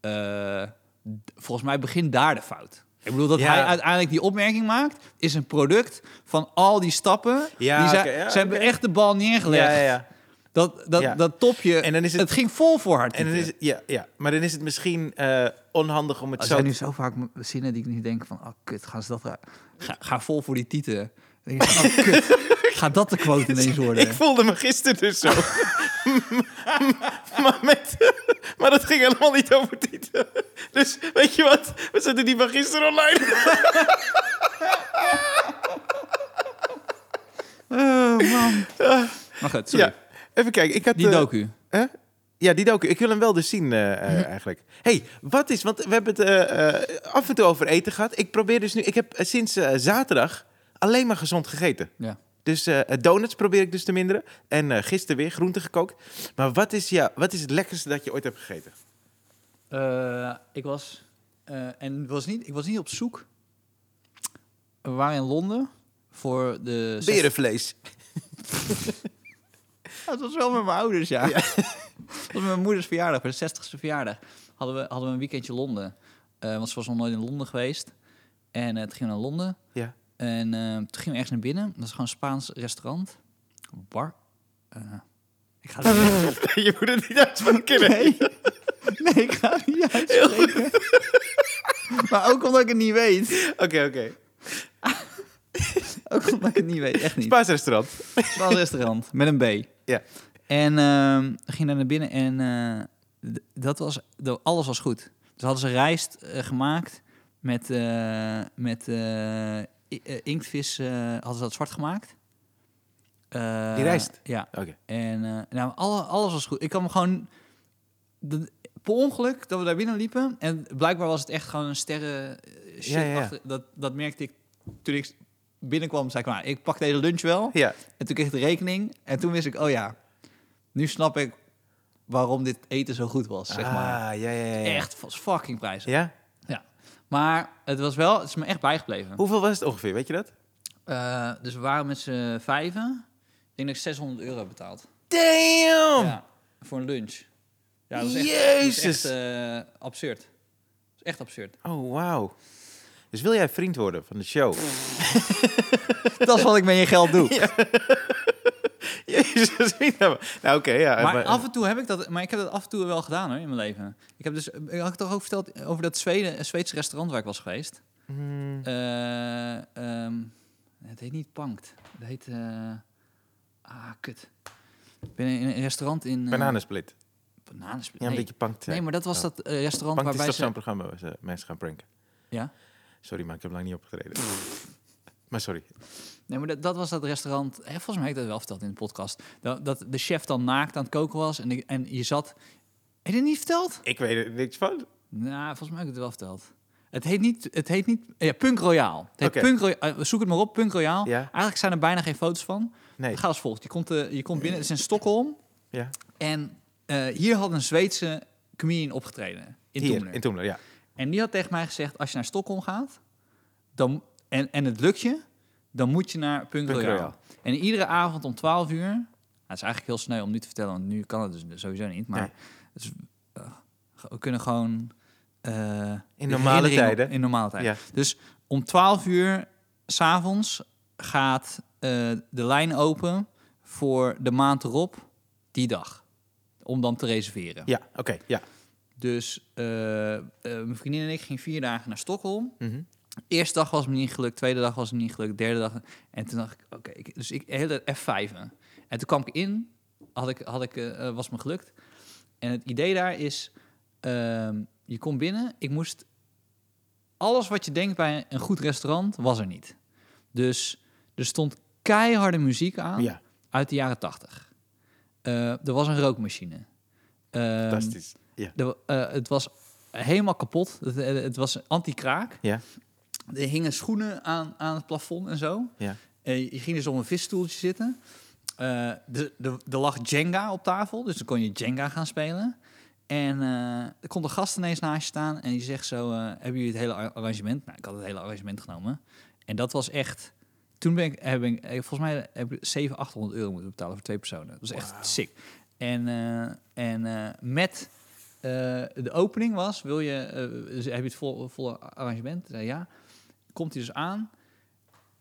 Speaker 2: Eh, d- volgens mij begint daar de fout. Ik bedoel, dat
Speaker 1: Ja.
Speaker 2: hij uiteindelijk die opmerking maakt... is een product van al die stappen.
Speaker 1: Ja,
Speaker 2: die zij-
Speaker 1: oké, ja,
Speaker 2: ze hebben
Speaker 1: oké.
Speaker 2: echt de bal neergelegd.
Speaker 1: Ja, ja, ja.
Speaker 2: Dat, dat,
Speaker 1: Ja.
Speaker 2: dat topje,
Speaker 1: En dan is
Speaker 2: het...
Speaker 1: het-
Speaker 2: ging vol voor haar.
Speaker 1: En dan
Speaker 2: tieten.
Speaker 1: is, het- ja, ja. Maar dan is het misschien eh, onhandig om het
Speaker 2: Als
Speaker 1: zo...
Speaker 2: zijn nu zo vaak m- zinnen die ik nu denk van... Oh, kut, gaan ze dat... ra- Ga, ga vol voor die tieten. Dan denk ik, oh, kut. Gaat dat de quote ineens worden?
Speaker 1: Ik voelde me gisteren dus zo. maar, met, maar dat ging helemaal niet over dit. Dus weet je wat? We zetten die van gisteren online.
Speaker 2: Oh, man. Maar goed, sorry.
Speaker 1: Ja. Even kijken. Ik had,
Speaker 2: Die
Speaker 1: eh,
Speaker 2: docu. Mhm.
Speaker 1: hè? Ja, die docu. Ik wil hem wel dus zien eh, eh, eigenlijk. hey, wat is... Want we hebben het eh, eh, af en toe over eten gehad. Ik probeer dus nu... Ik heb eh, sinds eh, zaterdag alleen maar gezond gegeten.
Speaker 2: Ja.
Speaker 1: Dus eh, donuts probeer ik dus te minderen. En eh, gisteren weer groenten gekookt. Maar wat is, ja, wat is het lekkerste dat je ooit hebt gegeten?
Speaker 2: Eh, ik was... eh, en was niet, ik was niet op zoek. We waren in Londen voor de... zes-
Speaker 1: Berenvlees.
Speaker 2: Ja, het was wel met mijn ouders, ja. was mijn moeders verjaardag, bij de 60ste verjaardag, hadden we, hadden we een weekendje Londen. Eh, want ze was nog nooit in Londen geweest. En eh, toen gingen we naar Londen.
Speaker 1: Ja.
Speaker 2: En eh, toen gingen we ergens naar binnen. Dat is gewoon een Spaans restaurant. Bar. Eh, ik ga het niet
Speaker 1: je moet het niet uitspreken. hè?
Speaker 2: Nee. Nee, ik ga het niet uitspreken. Maar ook omdat ik het niet weet.
Speaker 1: Oké, oké.
Speaker 2: Ook omdat ik het niet weet, echt niet.
Speaker 1: Spaans restaurant.
Speaker 2: Spaans restaurant, met een B.
Speaker 1: Ja.
Speaker 2: En ehm we gingen daar naar binnen en eh, d- dat was, dat- alles was goed. Dus hadden ze rijst eh, gemaakt met, eh, met eh, i- eh, inktvis, eh, hadden ze dat zwart gemaakt. Eh,
Speaker 1: Die rijst?
Speaker 2: Ja.
Speaker 1: Oké.
Speaker 2: En eh, nou, alle, alles was goed. Ik kwam gewoon... dat- per ongeluk dat we daar binnen liepen. En blijkbaar was het echt gewoon een sterren eh, shit.
Speaker 1: Ja, ja, ja.
Speaker 2: achter- dat, dat merkte ik toen ik binnenkwam. zei ik, maar, ik pak deze lunch wel.
Speaker 1: Ja.
Speaker 2: En toen kreeg ik de rekening. En toen wist ik, oh ja, nu snap ik waarom dit eten zo goed was, zeg maar.
Speaker 1: Ah, ja, ja, ja. ja.
Speaker 2: Echt was fucking prijzig.
Speaker 1: Ja?
Speaker 2: Maar het was wel, het is me echt bijgebleven.
Speaker 1: Hoeveel was het ongeveer, weet je dat?
Speaker 2: Eh, dus we waren met z'n vijven. Ik denk dat ik 600 euro heb betaald.
Speaker 1: Damn!
Speaker 2: Ja, voor een lunch. Ja, dat was echt, Dat
Speaker 1: Jezus.
Speaker 2: is echt eh, absurd. Dat is echt absurd.
Speaker 1: Oh, wauw. Dus wil jij vriend worden van de show?
Speaker 2: dat is wat ik met je geld doe.
Speaker 1: Jezus, niet nou, nou, oké, ja.
Speaker 2: Maar af en toe heb ik dat, maar ik heb dat af en toe wel gedaan hoor, in mijn leven. Ik heb dus, ik had ik toch ook verteld over dat Zweden, Zweedse restaurant waar ik was geweest.
Speaker 1: Hmm,
Speaker 2: Eh, ehm, het heet niet Pankt. Het heet. eh, ah, kut. Ik ben in een restaurant in. eh,
Speaker 1: bananensplit.
Speaker 2: Bananensplit.
Speaker 1: Ja, een
Speaker 2: nee.
Speaker 1: beetje pankt.
Speaker 2: nee, maar dat was
Speaker 1: Oh.
Speaker 2: dat eh, restaurant
Speaker 1: Pankt is
Speaker 2: waarbij
Speaker 1: toch
Speaker 2: ze.
Speaker 1: zo'n programma waar ze mensen gaan pranken?
Speaker 2: Ja.
Speaker 1: Sorry, maar ik heb lang niet opgetreden. maar sorry.
Speaker 2: Nee, maar dat, dat was dat restaurant. Hè, volgens mij heb ik dat wel verteld in de podcast. Dat, dat de chef dan naakt aan het koken was en, ik- en je zat. Heb je dit niet verteld?
Speaker 1: Ik weet er niks van.
Speaker 2: Nou, volgens mij heb ik het wel verteld. Het heet niet, het heet niet, ja, Punk Royale. Het heet
Speaker 1: Oké.
Speaker 2: Punk Royale. eh, Zoek het maar op, Punk Royale.
Speaker 1: Ja.
Speaker 2: Eigenlijk zijn er bijna geen foto's van.
Speaker 1: Nee.
Speaker 2: Ga als volgt. Je komt, eh, je komt binnen, het is in Stockholm.
Speaker 1: Ja.
Speaker 2: En eh, hier had een Zweedse comedian opgetreden. In
Speaker 1: Hier,
Speaker 2: Toemler.
Speaker 1: in Toemler, ja.
Speaker 2: En die had tegen mij gezegd, als je naar Stockholm gaat dan, en, en het lukt je, dan moet je naar Punk
Speaker 1: Punk
Speaker 2: Royale.
Speaker 1: Royale.
Speaker 2: En iedere avond om 12 uur, nou, het is eigenlijk heel sneu om nu te vertellen, want nu kan het dus sowieso niet. Maar
Speaker 1: Nee.
Speaker 2: het is, eh, we kunnen gewoon... eh, de
Speaker 1: normale
Speaker 2: herinnering op-
Speaker 1: tijden.
Speaker 2: In normale tijden.
Speaker 1: Ja.
Speaker 2: Dus om 12 uur s'avonds gaat eh, de lijn open voor de maand erop, die dag. Om dan te reserveren.
Speaker 1: Ja, oké, ja.
Speaker 2: Dus eh, eh, mijn vriendin en ik gingen vier dagen naar Stockholm.
Speaker 1: Mhm.
Speaker 2: Eerste dag was me niet gelukt, tweede dag was me niet gelukt, derde dag. En toen dacht ik, oké, ik- dus ik hele F5. En. en toen kwam ik in, had ik, had ik, eh, eh, was me gelukt. En het idee daar is, ehm, je komt binnen. Ik moest, alles wat je denkt bij een goed restaurant, was er niet. Dus er stond keiharde muziek aan
Speaker 1: Ja,
Speaker 2: uit de jaren tachtig. Eh, er was een rookmachine. Ehm,
Speaker 1: fantastisch. Ja.
Speaker 2: de- eh, het was helemaal kapot. Het, eh, het was anti-kraak.
Speaker 1: Ja.
Speaker 2: Er hingen schoenen aan, aan het plafond en zo.
Speaker 1: Ja.
Speaker 2: Eh, je ging dus op een visstoeltje zitten. Eh, de- de- er lag Jenga op tafel, dus dan kon je Jenga gaan spelen. En eh, er komt een gast ineens naast je staan en die zegt zo... eh, hebben jullie het hele ar- arrangement? Nou, ik had het hele arrangement genomen. En dat was echt... Toen ben ik, heb ik eh, volgens mij heb ik 700, 800 euro moeten betalen voor twee personen. Dat was echt sick. En, eh, en eh, met eh, de opening was, wil je, eh, dus heb je het volle, volle arrangement? Ik zei ja. Komt hij dus aan,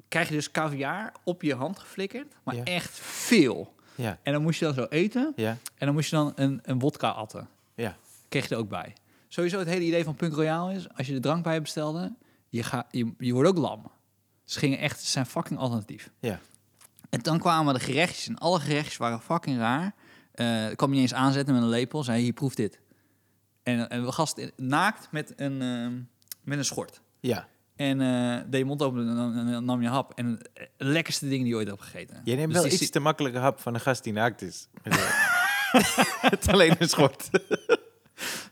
Speaker 2: krijg je dus caviar op je hand geflikkerd, maar
Speaker 1: Ja.
Speaker 2: echt veel.
Speaker 1: Ja,
Speaker 2: En dan moest je dan zo eten
Speaker 1: ja,
Speaker 2: en dan moest je dan een, een wodka atten.
Speaker 1: ja.
Speaker 2: Kreeg je er ook bij. Sowieso het hele idee van Punk Royale is, als je de drank bij bestelde, je, ga, je, je wordt ook lam. Ze gingen echt, ze zijn fucking alternatief.
Speaker 1: Ja.
Speaker 2: En dan kwamen de gerechtjes. En alle gerechtjes waren fucking raar. Eh ik kwam je niet eens aanzetten met een lepel. Zei, hier, proef dit. En, en we gast in- naakt met een, ehm, met een schort.
Speaker 1: Ja.
Speaker 2: En eh deed je mond open en nam, en nam je hap. En eh, de lekkerste dingen die je ooit hebt gegeten.
Speaker 1: Je neemt
Speaker 2: Dus
Speaker 1: wel
Speaker 2: die
Speaker 1: iets
Speaker 2: si-
Speaker 1: te makkelijke hap van een gast die naakt is. Het alleen een schort.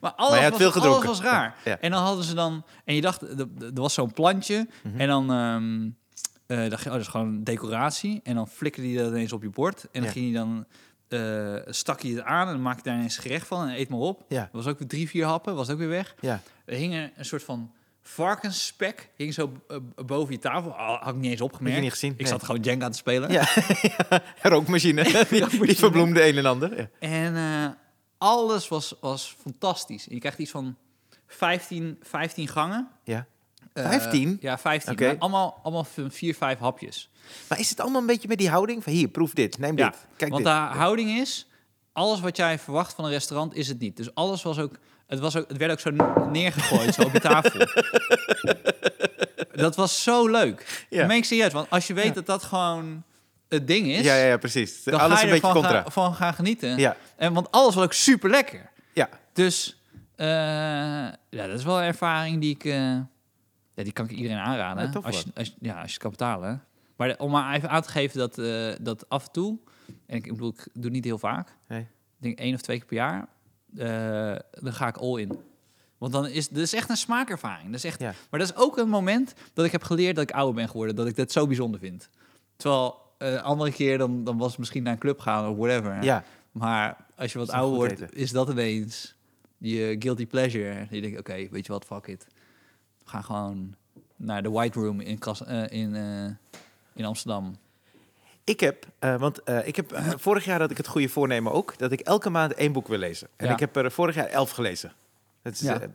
Speaker 2: Maar alles,
Speaker 1: Maar je had
Speaker 2: was,
Speaker 1: veel
Speaker 2: alles
Speaker 1: gedronken.
Speaker 2: was raar.
Speaker 1: Ja.
Speaker 2: En dan hadden ze dan... En je dacht, er er was zo'n plantje.
Speaker 1: Mhm.
Speaker 2: En dan ehm, eh, dacht je, oh, dat is gewoon een decoratie. En dan flikkerde die dat ineens op je bord. En dan
Speaker 1: Ja.
Speaker 2: ging je dan... eh, stak je het aan en dan maak je daar ineens gerecht van. En eet maar op.
Speaker 1: Ja,
Speaker 2: Er was ook weer drie, vier happen, was ook weer weg.
Speaker 1: ja.
Speaker 2: Er hing een- een soort van varkensspek, hing zo eh, boven je tafel. Ah, had ik niet eens opgemerkt.
Speaker 1: Heb je niet gezien?
Speaker 2: Ik
Speaker 1: Nee.
Speaker 2: zat gewoon Jenga te spelen.
Speaker 1: Ja. Rookmachine. die, die
Speaker 2: Rookmachine.
Speaker 1: verbloemde een en ander. Ja.
Speaker 2: En eh, alles was, was fantastisch. En je krijgt iets van 15, 15 gangen.
Speaker 1: Ja.
Speaker 2: Eh,
Speaker 1: 15?
Speaker 2: ja, 15.
Speaker 1: Oké.
Speaker 2: maar allemaal, allemaal van 4, 5 hapjes.
Speaker 1: Maar is het allemaal een beetje met die houding van hier, proef dit, neem
Speaker 2: Ja,
Speaker 1: dit, kijk
Speaker 2: Want
Speaker 1: dit.
Speaker 2: de houding is, alles wat jij verwacht van een restaurant is het niet. Dus alles was ook, het, was ook, het werd ook zo neergegooid, zo op je tafel. Dat was zo leuk.
Speaker 1: Ja.
Speaker 2: Ja. Meen ik serieus, want als je weet dat dat gewoon het ding is,
Speaker 1: Ja, ja, ja, precies.
Speaker 2: dan
Speaker 1: Alles
Speaker 2: ga
Speaker 1: een
Speaker 2: je
Speaker 1: beetje
Speaker 2: ervan
Speaker 1: contra.
Speaker 2: gaan, van gaan genieten.
Speaker 1: Ja,
Speaker 2: En, want alles was ook super lekker.
Speaker 1: ja.
Speaker 2: Dus eh, ja, dat is wel een ervaring die ik, eh, ja, die kan ik iedereen aanraden.
Speaker 1: Ja, tof
Speaker 2: als, je,
Speaker 1: hoor.
Speaker 2: als, je- ja, als je het kan betalen. Maar de- om maar even aan te geven dat, eh, dat af en toe, en ik, ik bedoel, ik doe het niet heel vaak,
Speaker 1: Nee.
Speaker 2: ik denk één of twee keer per jaar, eh, dan ga ik all in. Want dan is dat is echt een smaakervaring. Dat is echt,
Speaker 1: Ja.
Speaker 2: Maar dat is ook een moment dat ik heb geleerd dat ik ouder ben geworden, dat ik dat zo bijzonder vind. Terwijl eh, andere keer dan, dan was het misschien naar een club gaan of whatever.
Speaker 1: ja.
Speaker 2: Maar als je wat
Speaker 1: Dat is een
Speaker 2: ouder
Speaker 1: goed
Speaker 2: wordt, is dat ineens je guilty pleasure. Je denkt, oké, weet je wat, fuck it. We gaan gewoon naar de White Room in, Kas- eh, in, eh, in Amsterdam.
Speaker 1: Ik heb, eh, want eh, ik heb, eh, vorig jaar had ik het goede voornemen ook, dat ik elke maand één boek wil lezen. En
Speaker 2: Ja.
Speaker 1: ik heb er vorig jaar elf gelezen. Het is,
Speaker 2: Ja.
Speaker 1: eh, het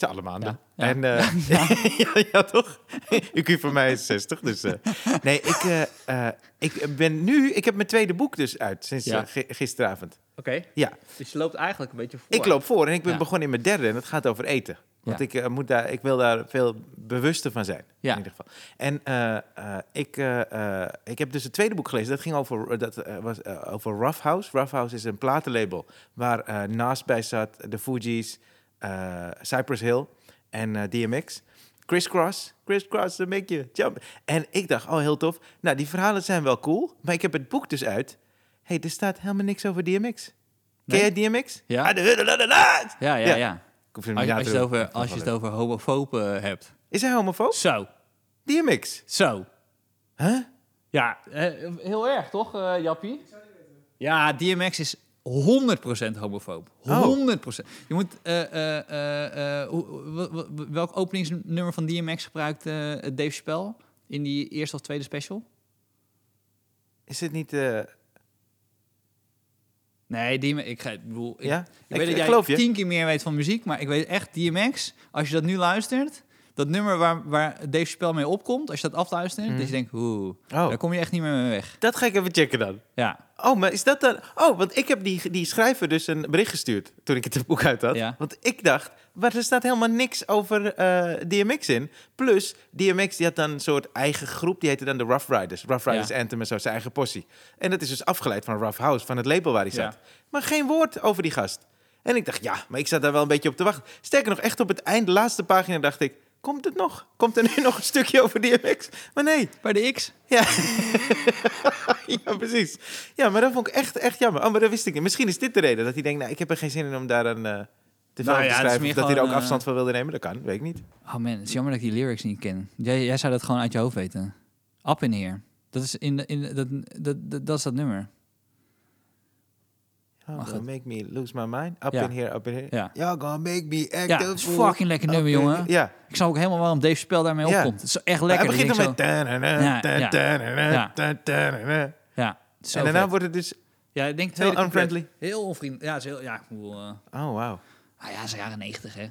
Speaker 1: zijn alle maanden.
Speaker 2: Ja. Ja.
Speaker 1: En, eh, ja, ja, toch? IQ van mij is 60, dus... eh, nee, ik, eh, eh, ik ben nu... Ik heb mijn tweede boek dus uit, sinds
Speaker 2: Ja.
Speaker 1: eh, gi- gisteravond.
Speaker 2: Oké,
Speaker 1: Ja,
Speaker 2: dus je loopt eigenlijk een beetje voor.
Speaker 1: ik loop voor en ik ben
Speaker 2: Ja.
Speaker 1: begonnen in mijn derde en dat gaat over eten. Want
Speaker 2: Ja.
Speaker 1: ik, eh, moet daar, ik wil daar veel bewuster van zijn.
Speaker 2: Ja.
Speaker 1: In ieder geval. En eh, eh, ik, eh, eh, ik heb dus het tweede boek gelezen. Dat ging over, eh, dat, eh, was, eh, over Rough House. Rough House is een platenlabel waar eh Nas bij zat, de Fugees, eh, Cypress Hill en eh, DMX. Criss Cross, Criss Cross, dan make you jump. En ik dacht, oh heel tof. Nou, die verhalen zijn wel cool, maar ik heb het boek dus uit. hey, er staat helemaal niks over DMX.
Speaker 2: Nee?
Speaker 1: Ken jij DMX?
Speaker 2: Ja.
Speaker 1: Ah, de huddeladelaat!
Speaker 2: Ja, ja,
Speaker 1: Ja.
Speaker 2: ja.
Speaker 1: Ik hoef hem
Speaker 2: Als,
Speaker 1: niet na
Speaker 2: je- als
Speaker 1: te
Speaker 2: je het
Speaker 1: doen.
Speaker 2: over, als je het over homofoben hebt.
Speaker 1: Is hij homofoob?
Speaker 2: Zo,
Speaker 1: DMX.
Speaker 2: zo.
Speaker 1: Huh?
Speaker 2: Ja, eh, heel erg toch, eh, Jappie? Ja, DMX is 100% homofoob. 100%.
Speaker 1: Oh.
Speaker 2: Je moet. eh, eh, eh, eh, hoe- hoe- hoe- hoe- welk openingsnummer van DMX gebruikt eh, Dave Chappelle in die eerste of tweede special?
Speaker 1: Is het niet... eh,
Speaker 2: Nee, DMX. Ik, ga, ik bedoel, ik,
Speaker 1: ja?
Speaker 2: ik weet dat jij
Speaker 1: geloof je.
Speaker 2: tien keer meer weet van muziek, maar ik weet echt DMX. Als je dat nu luistert, dat nummer waar, waar Dave Chappelle mee opkomt, als je dat afluistert,
Speaker 1: Mhm.
Speaker 2: dat je denkt, oeh,
Speaker 1: Oh,
Speaker 2: daar kom je echt niet meer mee weg.
Speaker 1: dat ga ik even checken dan.
Speaker 2: Ja,
Speaker 1: Oh, maar is dat dan... Oh, want ik heb die, die schrijver dus een bericht gestuurd toen ik het boek uit had.
Speaker 2: Ja.
Speaker 1: Want ik dacht, maar er staat helemaal niks over eh, DMX in. Plus, DMX die had dan een soort eigen groep, die heette dan de Rough Riders. Rough Riders
Speaker 2: Ja.
Speaker 1: Anthem en zo, zijn eigen possie. En dat is dus afgeleid van Rough House, van het label waar hij
Speaker 2: Ja.
Speaker 1: zat. Maar geen woord over die gast. En ik dacht, ja, maar ik zat daar wel een beetje op te wachten. Sterker nog, echt op het eind, de laatste pagina, dacht ik... Komt het nog? Komt er nu nog een stukje over DMX? Maar nee,
Speaker 2: bij de X.
Speaker 1: ja. ja, precies. Ja, maar dat vond ik echt, echt jammer. Oh, maar dat wist ik niet. Misschien is dit de reden dat hij denkt, nou, ik heb er geen zin in om daar een eh te veel over
Speaker 2: Nou ja, het
Speaker 1: te
Speaker 2: is
Speaker 1: schrijven.
Speaker 2: meer
Speaker 1: Of dat hij er ook
Speaker 2: gewoon, eh,
Speaker 1: afstand van wilde nemen, dat kan, weet ik niet.
Speaker 2: Oh man, het is jammer dat ik die lyrics niet ken. Jij, jij zou dat gewoon uit je hoofd weten. Up in here. Dat is, in de, in de- dat, dat, dat, dat is dat nummer.
Speaker 1: Oh,
Speaker 2: Maar
Speaker 1: gonna make me lose my mind. Up
Speaker 2: Ja.
Speaker 1: in here, up in here.
Speaker 2: Ja.
Speaker 1: You're gonna make me act
Speaker 2: Ja,
Speaker 1: a
Speaker 2: dat is
Speaker 1: fool.
Speaker 2: fucking lekker nummer,
Speaker 1: Up in-
Speaker 2: jongen.
Speaker 1: Ja,
Speaker 2: Ik snap ook helemaal waarom Dave Spel daarmee
Speaker 1: Ja.
Speaker 2: opkomt. Het is echt
Speaker 1: hij
Speaker 2: lekker.
Speaker 1: begint dan
Speaker 2: Ik denk
Speaker 1: met...
Speaker 2: zo-
Speaker 1: ta-na-na,
Speaker 2: Ja, ja.
Speaker 1: ta-na-na,
Speaker 2: Ja.
Speaker 1: ta-na-na.
Speaker 2: Ja, het is zo
Speaker 1: En daarna
Speaker 2: vet.
Speaker 1: wordt het dus
Speaker 2: Ja, ik denk
Speaker 1: heel
Speaker 2: tweede couplet.
Speaker 1: unfriendly.
Speaker 2: Heel onvriendelijk. Ja, het is heel, ja, ik bedoel... eh,
Speaker 1: Oh, wauw.
Speaker 2: ah ja, het is jaren negentig, hè.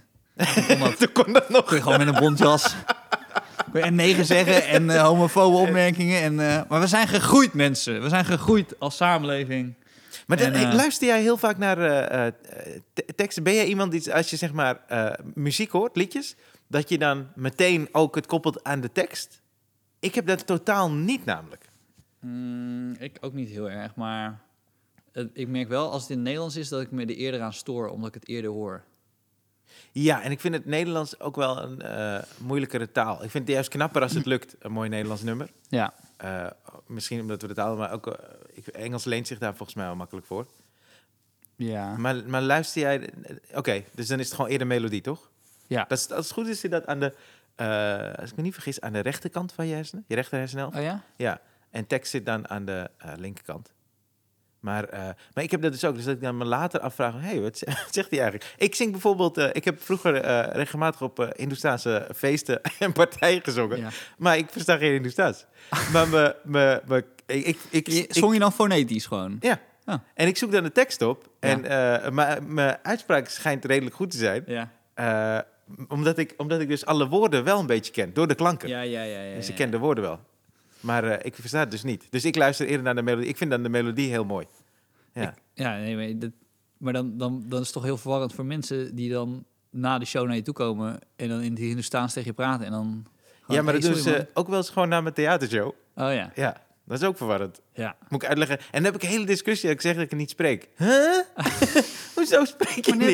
Speaker 1: Toen kon dat nog.
Speaker 2: Kun je gewoon met een bontjas... Kun je en negen zeggen en eh, homofobe opmerkingen. En, eh, maar we zijn gegroeid, mensen. We zijn gegroeid als samenleving.
Speaker 1: Maar dan-
Speaker 2: En, eh,
Speaker 1: luister jij heel vaak naar eh, eh, te- teksten? Ben jij iemand die, als je zeg maar eh, muziek hoort, liedjes, dat je dan meteen ook het koppelt aan de tekst? Ik heb dat totaal niet namelijk.
Speaker 2: Mm, ik ook niet heel erg, maar het- ik merk wel als het in het Nederlands is dat ik me er eerder aan stoor, omdat ik het eerder hoor.
Speaker 1: Ja, en ik vind het Nederlands ook wel een eh, moeilijkere taal. Ik vind het juist knapper als het lukt, een mooi Nederlands nummer.
Speaker 2: Ja.
Speaker 1: Eh, misschien omdat we de taal, maar ook eh, ik, Engels leent zich daar volgens mij wel makkelijk voor.
Speaker 2: Ja.
Speaker 1: Maar, maar luister jij, oké, dus dan is het gewoon eerder melodie, toch?
Speaker 2: Ja.
Speaker 1: Dat is, als het goed is, zit dat aan de, eh, als ik me niet vergis, aan de rechterkant van je hersenen. Je rechter hersenhelft.
Speaker 2: Oh ja?
Speaker 1: Ja. En tekst zit dan aan de eh, linkerkant. Maar, eh, maar ik heb dat dus ook. Dus dat ik dan me later afvraag, hé, hey, wat ze- wat zegt hij eigenlijk? Ik zing bijvoorbeeld, eh, ik heb vroeger eh, regelmatig op eh Hindoestaanse feesten en partijen gezongen.
Speaker 2: ja.
Speaker 1: Maar ik versta geen Hindoestaans. maar me, me, me, ik, ik, ik,
Speaker 2: Je- Zong je dan fonetisch gewoon?
Speaker 1: Ja.
Speaker 2: Ja.
Speaker 1: En ik zoek dan de tekst op. En eh, maar mijn uitspraak schijnt redelijk goed te zijn.
Speaker 2: Ja,
Speaker 1: Eh, omdat, ik, omdat ik dus alle woorden wel een beetje ken, door de klanken.
Speaker 2: ja, ja. ja, ja,
Speaker 1: dus ik
Speaker 2: ja.
Speaker 1: ken de woorden wel. Maar eh, ik versta het dus niet. Dus ik luister eerder naar de melodie. Ik vind dan de melodie heel mooi. Ja.
Speaker 2: Ja, nee, maar, dat, maar dan, dan, dan is het toch heel verwarrend voor mensen die dan na de show naar je toe komen en dan in het Hindoestaans tegen je praten en dan... gewoon,
Speaker 1: ja, maar
Speaker 2: hey,
Speaker 1: dat doen
Speaker 2: sorry,
Speaker 1: ze ook wel eens gewoon naar mijn theatershow.
Speaker 2: man. Oh ja,
Speaker 1: Ja, dat is ook verwarrend.
Speaker 2: ja.
Speaker 1: Moet ik uitleggen. En dan heb ik een hele discussie dat ik zeg dat ik het niet spreek. Huh? Hoezo spreek je
Speaker 2: Maar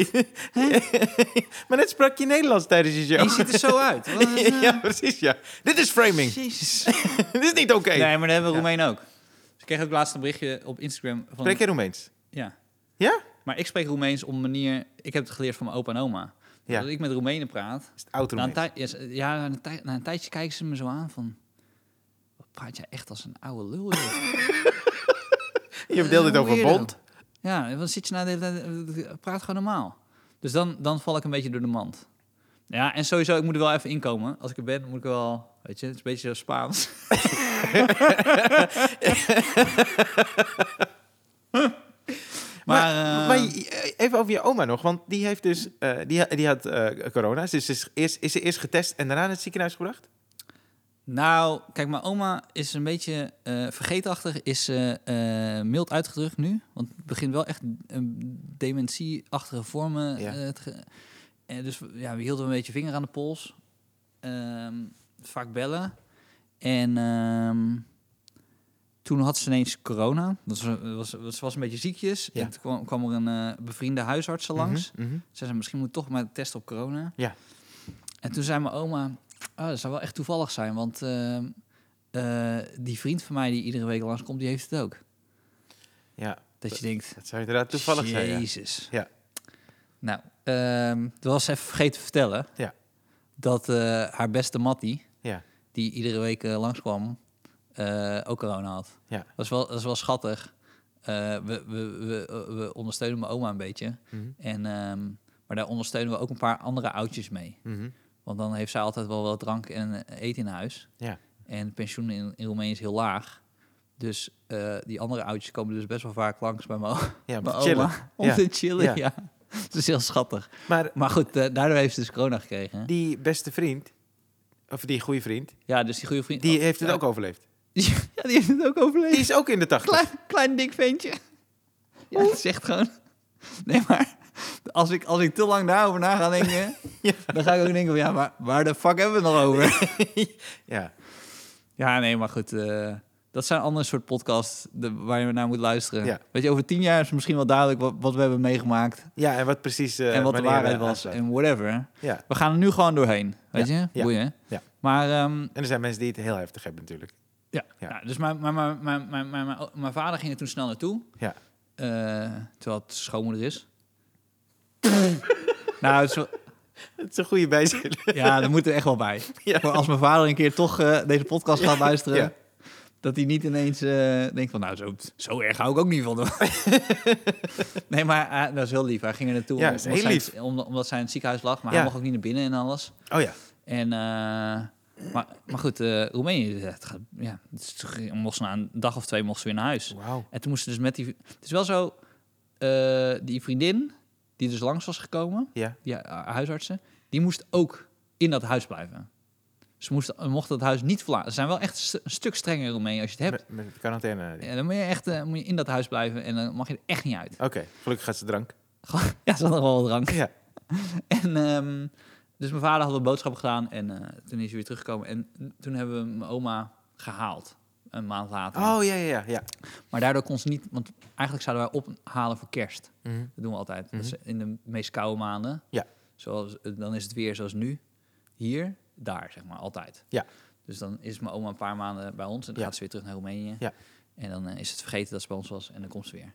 Speaker 2: net-
Speaker 1: niet? maar net sprak je Nederlands tijdens je
Speaker 2: Je
Speaker 1: show.
Speaker 2: ziet er zo uit. Wat is, eh,
Speaker 1: ja, precies, ja. Dit is framing.
Speaker 2: Jezus.
Speaker 1: Dit is niet oké.
Speaker 2: Nee, maar dat hebben we
Speaker 1: Ja.
Speaker 2: Roemeen ook. Dus ik kreeg ook laatst een berichtje op Instagram van...
Speaker 1: Spreek je Roemeens?
Speaker 2: Ja.
Speaker 1: Ja?
Speaker 2: Maar ik spreek Roemeens op een manier... Ik heb het geleerd van mijn opa en oma.
Speaker 1: Ja.
Speaker 2: Dat ik met Roemenen praat.
Speaker 1: Is het oud
Speaker 2: Na een,
Speaker 1: Roemeens?
Speaker 2: tij- ja, ze- ja, na, een tij- na een tijdje kijken ze me zo aan van... Wat praat jij echt als een oude lul? joh."
Speaker 1: Je verdeelt dit
Speaker 2: Eh,
Speaker 1: over
Speaker 2: weirdo.
Speaker 1: bond.
Speaker 2: ja, wat zit je nou... de hele tijd- Praat gewoon normaal. Dus dan, dan val ik een beetje door de mand. Ja, en sowieso, ik moet er wel even inkomen. Als ik er ben, moet ik er wel... Weet je, het is een beetje zo Spaans. maar, eh,
Speaker 1: Maar je- even over je oma nog, want die heeft dus, eh, die, ha- die had eh, corona, dus is, eerst, is ze eerst getest en daarna naar het ziekenhuis gebracht?
Speaker 2: Nou, kijk, mijn oma is een beetje eh, vergeetachtig, is eh, eh, mild uitgedrukt nu. Want het begint wel echt een dementieachtige vormen.
Speaker 1: Ja.
Speaker 2: eh, te ge- eh, dus we- ja, we hielden een beetje vinger aan de pols. Ehm, vaak bellen. En ehm, toen had ze ineens corona. Dat Ze was, was, was een beetje ziekjes.
Speaker 1: Ja.
Speaker 2: En toen kwam, kwam er een eh, bevriende huisarts er langs.
Speaker 1: Mhm, mhm.
Speaker 2: Ze zei, misschien moet ik toch maar testen op corona.
Speaker 1: Ja.
Speaker 2: En toen zei mijn oma, oh, dat zou wel echt toevallig zijn, want ehm, eh, die vriend van mij die iedere week langskomt, die heeft het ook.
Speaker 1: Ja,
Speaker 2: Dat je denkt,
Speaker 1: dat zou inderdaad toevallig zijn. ja.
Speaker 2: jezus.
Speaker 1: Ja.
Speaker 2: Nou, ehm toen was ze even vergeten te vertellen
Speaker 1: Ja.
Speaker 2: dat eh, haar beste mattie,
Speaker 1: Ja.
Speaker 2: die iedere week eh, langskwam, eh, ook corona had.
Speaker 1: Ja.
Speaker 2: Dat, is wel, dat is wel schattig. Eh, we, we, we, we ondersteunen mijn oma een beetje.
Speaker 1: Mhm,
Speaker 2: En, ehm, maar daar ondersteunen we ook een paar andere oudjes mee.
Speaker 1: mhm.
Speaker 2: Want dan heeft zij altijd wel wat drank en eh, eten in huis.
Speaker 1: Ja.
Speaker 2: En het pensioen in, in Roemenië is heel laag. Dus eh, die andere oudjes komen dus best wel vaak langs bij mijn, o-
Speaker 1: Ja, om te
Speaker 2: mijn
Speaker 1: chillen.
Speaker 2: oma. Om
Speaker 1: Ja.
Speaker 2: te chillen,
Speaker 1: Ja.
Speaker 2: ja. Het is heel schattig.
Speaker 1: Maar
Speaker 2: Maar goed, eh, daardoor heeft ze dus corona gekregen. hè?
Speaker 1: die beste vriend, of die goede vriend,
Speaker 2: ja, dus die goede vriend...
Speaker 1: die
Speaker 2: oh,
Speaker 1: heeft het
Speaker 2: ja.
Speaker 1: ook overleefd.
Speaker 2: Ja, die heeft het ook
Speaker 1: Die
Speaker 2: overleefd.
Speaker 1: is ook in de tachtig.
Speaker 2: Klein, klein dik ventje. Ja, dat zegt gewoon... Nee, maar als ik, als ik te lang daarover na ga denken... dan ga ik ook denken van... Ja, maar waar de fuck hebben we het nog over?
Speaker 1: Ja,
Speaker 2: Ja, nee, maar goed. eh, dat zijn andere soort podcasts de- waar je naar moet luisteren.
Speaker 1: Ja.
Speaker 2: Weet je, over tien jaar is misschien wel duidelijk wat, wat we hebben meegemaakt.
Speaker 1: ja en wat precies... eh,
Speaker 2: en wat de
Speaker 1: wanneer,
Speaker 2: waarheid
Speaker 1: eh,
Speaker 2: was
Speaker 1: aansluit.
Speaker 2: en whatever.
Speaker 1: Ja,
Speaker 2: We gaan er nu gewoon doorheen. Weet
Speaker 1: Ja,
Speaker 2: je?
Speaker 1: ja,
Speaker 2: Boeien.
Speaker 1: ja.
Speaker 2: Maar, ehm,
Speaker 1: en er zijn mensen die het heel heftig hebben natuurlijk.
Speaker 2: ja.
Speaker 1: Ja.
Speaker 2: Nou, dus mijn, mijn, mijn, mijn, mijn, mijn, mijn- mijn vader ging er toen snel naartoe.
Speaker 1: Ja.
Speaker 2: Eh, terwijl het schoonmoeder is. nou, het is wel-
Speaker 1: Het is een goede bijzin.
Speaker 2: ja, daar moet er echt wel bij.
Speaker 1: Ja.
Speaker 2: Voor als mijn vader een keer toch eh, deze podcast gaat luisteren.
Speaker 1: Ja.
Speaker 2: Dat hij niet ineens eh, denkt van, nou, zo, zo erg hou ik ook niet van hem. nee, maar eh, dat is heel lief. Hij ging er naartoe
Speaker 1: Ja, dat is heel
Speaker 2: zij,
Speaker 1: lief.
Speaker 2: Omdat, omdat zij in het ziekenhuis lag, maar
Speaker 1: Ja.
Speaker 2: hij mocht ook niet naar binnen en alles.
Speaker 1: Oh ja,
Speaker 2: En, eh, maar, maar goed, eh, Roemenië, het gaat, ja, het is toch- mocht ze na een dag of twee mocht ze weer naar huis.
Speaker 1: wauw.
Speaker 2: En toen moesten ze dus met die... Het is wel zo, eh, die vriendin die dus langs was gekomen,
Speaker 1: Ja,
Speaker 2: die hu- huisartsen, die moest ook in dat huis blijven. Ze moesten, mochten het huis niet verlaten. Ze zijn wel echt st- een stuk strenger in Roemenië als je het hebt.
Speaker 1: met, met de quarantaine.
Speaker 2: Ja, dan moet je echt eh, moet je in dat huis blijven en dan mag je er echt niet uit.
Speaker 1: Oké, gelukkig gaat ze drank.
Speaker 2: ja, ze hadden wel wat drank.
Speaker 1: Ja.
Speaker 2: En, ehm, dus mijn vader had wat boodschappen gedaan en eh, toen is hij weer teruggekomen. En toen hebben we mijn oma gehaald, een maand later.
Speaker 1: Oh ja, ja, ja. ja.
Speaker 2: Maar daardoor kon ze niet, want eigenlijk zouden wij ophalen voor kerst.
Speaker 1: Mhm.
Speaker 2: Dat doen we altijd. Dat
Speaker 1: Mhm.
Speaker 2: is in de meest koude maanden.
Speaker 1: Ja.
Speaker 2: Zoals, dan is het weer zoals nu. Hier, daar, zeg maar, altijd.
Speaker 1: Ja.
Speaker 2: Dus dan is mijn oma een paar maanden bij ons en dan
Speaker 1: Ja.
Speaker 2: gaat ze weer terug naar Roemenië.
Speaker 1: Ja.
Speaker 2: En dan eh, is het vergeten dat ze bij ons was en dan komt ze weer.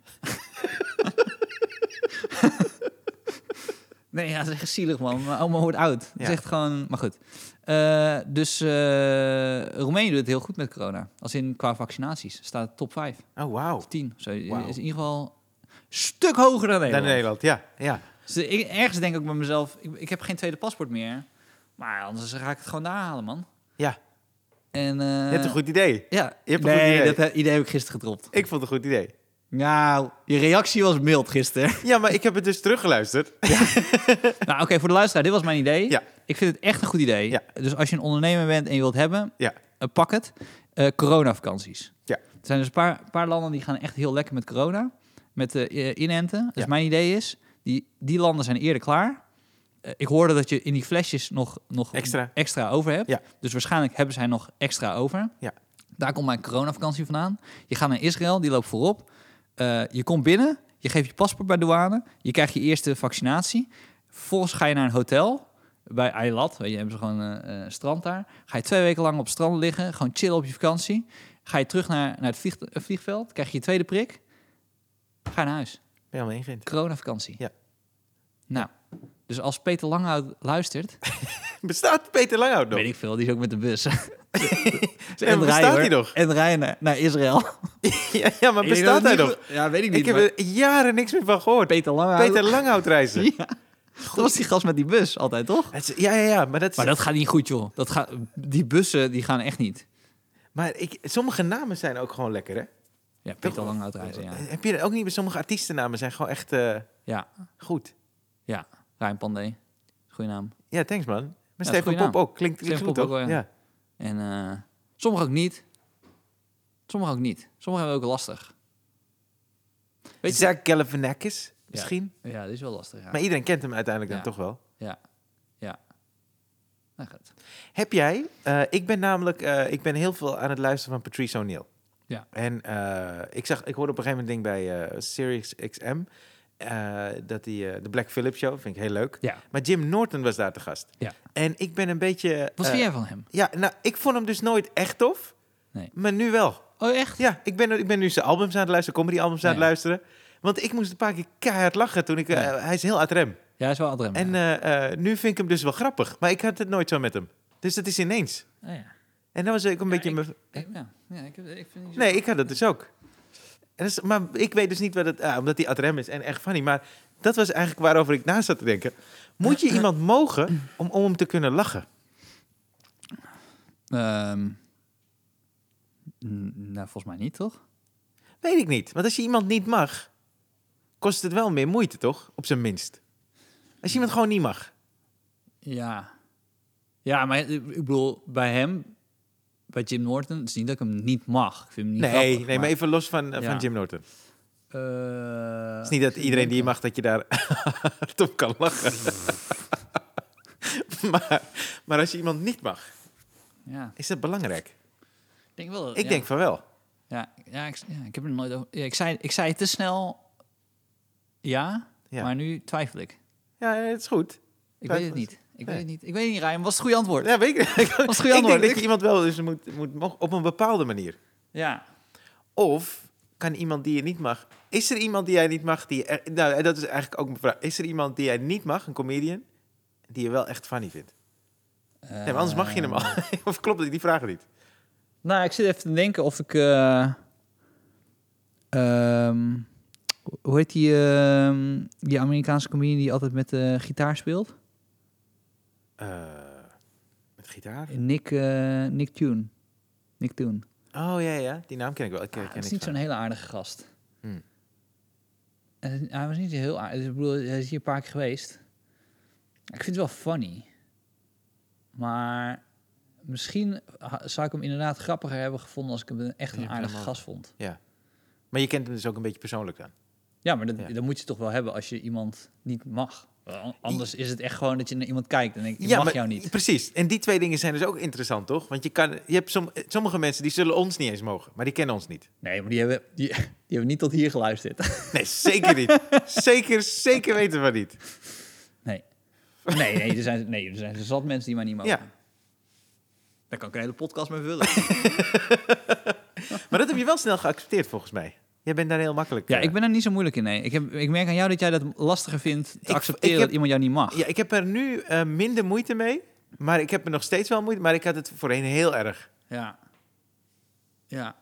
Speaker 2: nee, ja, dat is echt zielig, man. Mijn oma wordt oud. Het
Speaker 1: Ja.
Speaker 2: is echt gewoon... Maar goed. Eh, dus eh, Roemenië doet het heel goed met corona. Als in qua vaccinaties. Staat top 5
Speaker 1: Oh, wauw.
Speaker 2: of 10. Zo,
Speaker 1: Wauw.
Speaker 2: Is in ieder geval een stuk hoger dan
Speaker 1: Naar
Speaker 2: Nederland.
Speaker 1: Nederland, ja. ja.
Speaker 2: Dus ik, ergens denk ik bij mezelf, ik, ik heb geen tweede paspoort meer. Maar anders ga ik het gewoon daar halen, man.
Speaker 1: Ja.
Speaker 2: En, eh,
Speaker 1: Je hebt een goed idee.
Speaker 2: Ja,
Speaker 1: je hebt een
Speaker 2: nee,
Speaker 1: goed idee.
Speaker 2: dat he- idee heb ik gisteren gedropt.
Speaker 1: Ik vond het een goed idee.
Speaker 2: Nou, je reactie was mild gisteren.
Speaker 1: Ja, maar ik heb het dus teruggeluisterd.
Speaker 2: nou, oké, voor de luisteraar, dit was mijn idee.
Speaker 1: Ja.
Speaker 2: Ik vind het echt een goed idee.
Speaker 1: Ja.
Speaker 2: Dus als je een ondernemer bent en je wilt hebben,
Speaker 1: Ja.
Speaker 2: eh, pak het. Eh, coronavakanties.
Speaker 1: Ja.
Speaker 2: Er zijn dus een paar, paar landen die gaan echt heel lekker met corona, met eh, eh, inenten. Dus
Speaker 1: Ja.
Speaker 2: mijn idee is, die, die landen zijn eerder klaar. Eh, ik hoorde dat je in die flesjes nog, nog
Speaker 1: Extra.
Speaker 2: extra over hebt.
Speaker 1: Ja.
Speaker 2: Dus waarschijnlijk hebben zij nog extra over.
Speaker 1: Ja.
Speaker 2: Daar komt mijn coronavakantie vandaan. Je gaat naar Israël, die loopt voorop. Eh, je komt binnen, je geeft je paspoort bij de douane. Je krijgt je eerste vaccinatie. Vervolgens ga je naar een hotel bij Eilat. Weet je, hebben ze gewoon eh eh, strand daar. Ga je twee weken lang op het strand liggen. Gewoon chillen op je vakantie. Ga je terug naar, naar het vlieg- eh, vliegveld. Krijg je je tweede prik. Ga je naar huis.
Speaker 1: Ben je al ingeënt?
Speaker 2: Coronavakantie.
Speaker 1: Ja.
Speaker 2: Nou, dus als Peter Langhout luistert...
Speaker 1: Bestaat Peter Langhout nog?
Speaker 2: weet ik veel, die is ook met de bus.
Speaker 1: En bestaat
Speaker 2: hoor.
Speaker 1: hij nog?
Speaker 2: En rijden naar, naar Israël.
Speaker 1: Ja, ja, maar bestaat hij nog?
Speaker 2: Ja, weet
Speaker 1: Ik heb er jaren niks meer van gehoord.
Speaker 2: Peter Langhout.
Speaker 1: Peter Langhout reizen.
Speaker 2: Ja. Dat was die gast met die bus altijd, toch?
Speaker 1: Het is- Ja, ja, ja. Maar, dat is-
Speaker 2: Maar dat gaat niet goed, joh. Dat gaat, die bussen, die gaan echt niet.
Speaker 1: maar ik, sommige namen zijn ook gewoon lekker, hè?
Speaker 2: Ja, Peter Langhout reizen, ja.
Speaker 1: Heb je dat ook niet? Sommige artiestennamen zijn gewoon echt eh,
Speaker 2: Ja,
Speaker 1: goed.
Speaker 2: ja. Rijn Pandey. Goeie naam.
Speaker 1: Ja, thanks, man. Maar
Speaker 2: is
Speaker 1: Stefan
Speaker 2: goeie
Speaker 1: Pop
Speaker 2: naam.
Speaker 1: ook. Klinkt, klinkt
Speaker 2: Stefan
Speaker 1: goed,
Speaker 2: Pop
Speaker 1: toch?
Speaker 2: ook wel, ja.
Speaker 1: ja.
Speaker 2: En eh sommigen ook niet. Sommigen ook niet. Sommigen hebben we ook lastig. Weet je-
Speaker 1: Zach Galifianakis, misschien.
Speaker 2: Ja, dit is wel lastig, ja.
Speaker 1: Maar iedereen kent hem uiteindelijk
Speaker 2: Ja.
Speaker 1: dan toch wel.
Speaker 2: Ja. Ja. Nou, goed.
Speaker 1: Heb jij... eh, ik ben namelijk... eh, ik ben heel veel aan het luisteren van Patrice O'Neill.
Speaker 2: Ja.
Speaker 1: En eh, ik, zag, ik hoorde op een gegeven moment een ding bij eh Sirius XM... eh, dat die, eh, de Black Phillip Show, vind ik heel leuk.
Speaker 2: Ja.
Speaker 1: Maar Jim Norton was daar te gast.
Speaker 2: Ja.
Speaker 1: En ik ben een beetje...
Speaker 2: Wat
Speaker 1: eh,
Speaker 2: vind jij van hem?
Speaker 1: Ja, nou, ik vond hem dus nooit echt tof.
Speaker 2: Nee.
Speaker 1: Maar nu wel.
Speaker 2: Oh, echt?
Speaker 1: Ja, ik ben, ik ben nu zijn albums aan het luisteren, comedy-albums aan het
Speaker 2: Ja.
Speaker 1: luisteren. Want ik moest een paar keer keihard lachen toen ik... eh,
Speaker 2: Ja.
Speaker 1: hij is heel uit rem.
Speaker 2: Ja, hij is wel adrem.
Speaker 1: En eh, eh, nu vind ik hem dus wel grappig. Maar ik had het nooit zo met hem. Dus dat is ineens.
Speaker 2: ja. Oh, ja.
Speaker 1: En dat was ik een beetje...
Speaker 2: ik-
Speaker 1: mijn-
Speaker 2: Ik- ja. ja, ik, ik vind niet zo-
Speaker 1: Nee, ik had het dus ook. En dat is- maar ik weet dus niet wat het... ah, omdat hij uit rem is en echt funny. Maar dat was eigenlijk waarover ik na zat te denken. Moet je iemand mogen om, om hem te kunnen lachen?
Speaker 2: Ehm, n- nou, volgens mij niet, toch?
Speaker 1: Weet ik niet. Want als je iemand niet mag, kost het wel meer moeite, toch? Op zijn minst. Als je iemand gewoon niet mag.
Speaker 2: Ja. Ja, maar ik bedoel, bij hem, bij Jim Norton, het is niet dat ik hem niet mag. Ik vind hem niet
Speaker 1: Nee,
Speaker 2: grappig,
Speaker 1: nee, maar even los van, eh,
Speaker 2: Ja.
Speaker 1: van Jim Norton. Het
Speaker 2: Eh,
Speaker 1: is niet dat iedereen die je mag, dat je daar hard op kan lachen. maar, maar als je iemand niet mag,
Speaker 2: Ja,
Speaker 1: is dat belangrijk?
Speaker 2: ik denk wel. dat-
Speaker 1: Ik
Speaker 2: ja.
Speaker 1: denk van wel.
Speaker 2: Ja, ja, ik, ja, ik heb er nooit over... Ja, ik, zei, ik zei te snel ja,
Speaker 1: Ja.
Speaker 2: maar nu twijfel ik.
Speaker 1: Ja, het is goed.
Speaker 2: Ik
Speaker 1: Twijfel
Speaker 2: weet het
Speaker 1: is-
Speaker 2: niet.
Speaker 1: nee.
Speaker 2: Ik weet het niet. Ik weet het niet, Ryan. Was het goede antwoord?
Speaker 1: Ja, weet ik, ik
Speaker 2: Was het goede
Speaker 1: denk
Speaker 2: antwoord?
Speaker 1: dat je iemand wel dus moet, moet mogen op een bepaalde manier.
Speaker 2: Ja.
Speaker 1: Of kan iemand die je niet mag. Is er iemand die jij niet mag? Die je echt- nou, dat is eigenlijk ook mijn vraag. Is er iemand die jij niet mag, een comedian, die je wel echt funny vindt? Nee, maar anders
Speaker 2: Eh,
Speaker 1: mag je hem al. of klopt het? Die vragen niet.
Speaker 2: Nou, ik zit even te denken of ik. eh, ehm, hoe heet die, ehm, die Amerikaanse comedian die altijd met eh, gitaar speelt?
Speaker 1: Eh, met gitaar?
Speaker 2: Nick, eh, Nick Tune. Nick Tune.
Speaker 1: Oh ja, ja, die naam ken ik wel. Ik, ken-
Speaker 2: Ah,
Speaker 1: ken
Speaker 2: dat
Speaker 1: ik
Speaker 2: is niet
Speaker 1: van.
Speaker 2: zo'n hele aardige gast.
Speaker 1: Hmm.
Speaker 2: En hij was niet heel aardig. Dus ik bedoel, hij is hier een paar keer geweest. Ik vind het wel funny. Maar misschien ha- zou ik hem inderdaad grappiger hebben gevonden als ik hem echt
Speaker 1: je
Speaker 2: een
Speaker 1: hem
Speaker 2: aardige
Speaker 1: helemaal-
Speaker 2: gast vond.
Speaker 1: Maar je kent hem dus ook een beetje persoonlijk dan.
Speaker 2: Ja, maar dat,
Speaker 1: Ja.
Speaker 2: dat moet je toch wel hebben als je iemand niet mag. Wel, Anders is het echt gewoon dat je naar iemand kijkt en denkt, ik mag
Speaker 1: maar-
Speaker 2: jou niet.
Speaker 1: Precies. En die twee dingen zijn dus ook interessant, toch? Want je, kan, je hebt som- sommige mensen die zullen ons niet eens mogen, maar die kennen ons niet.
Speaker 2: Nee, maar die hebben, die, die hebben niet tot hier geluisterd.
Speaker 1: Nee, zeker niet. zeker, zeker weten we niet.
Speaker 2: Nee. Nee, nee, er zijn, nee, er zijn zat mensen die mij niet mogen.
Speaker 1: Ja.
Speaker 2: Daar kan ik een hele podcast mee vullen.
Speaker 1: Maar dat heb je wel snel geaccepteerd, volgens mij. Jij bent daar heel makkelijk.
Speaker 2: Ja,
Speaker 1: eh,
Speaker 2: ik ben er niet zo moeilijk in, nee. Ik, heb, ik merk aan jou dat jij dat lastiger vindt te
Speaker 1: Ik-
Speaker 2: accepteren
Speaker 1: ik heb-
Speaker 2: dat iemand jou niet mag.
Speaker 1: Ja, ik heb er nu eh, minder moeite mee. Maar ik heb er nog steeds wel moeite. Maar ik had het voorheen heel erg.
Speaker 2: Ja. Ja.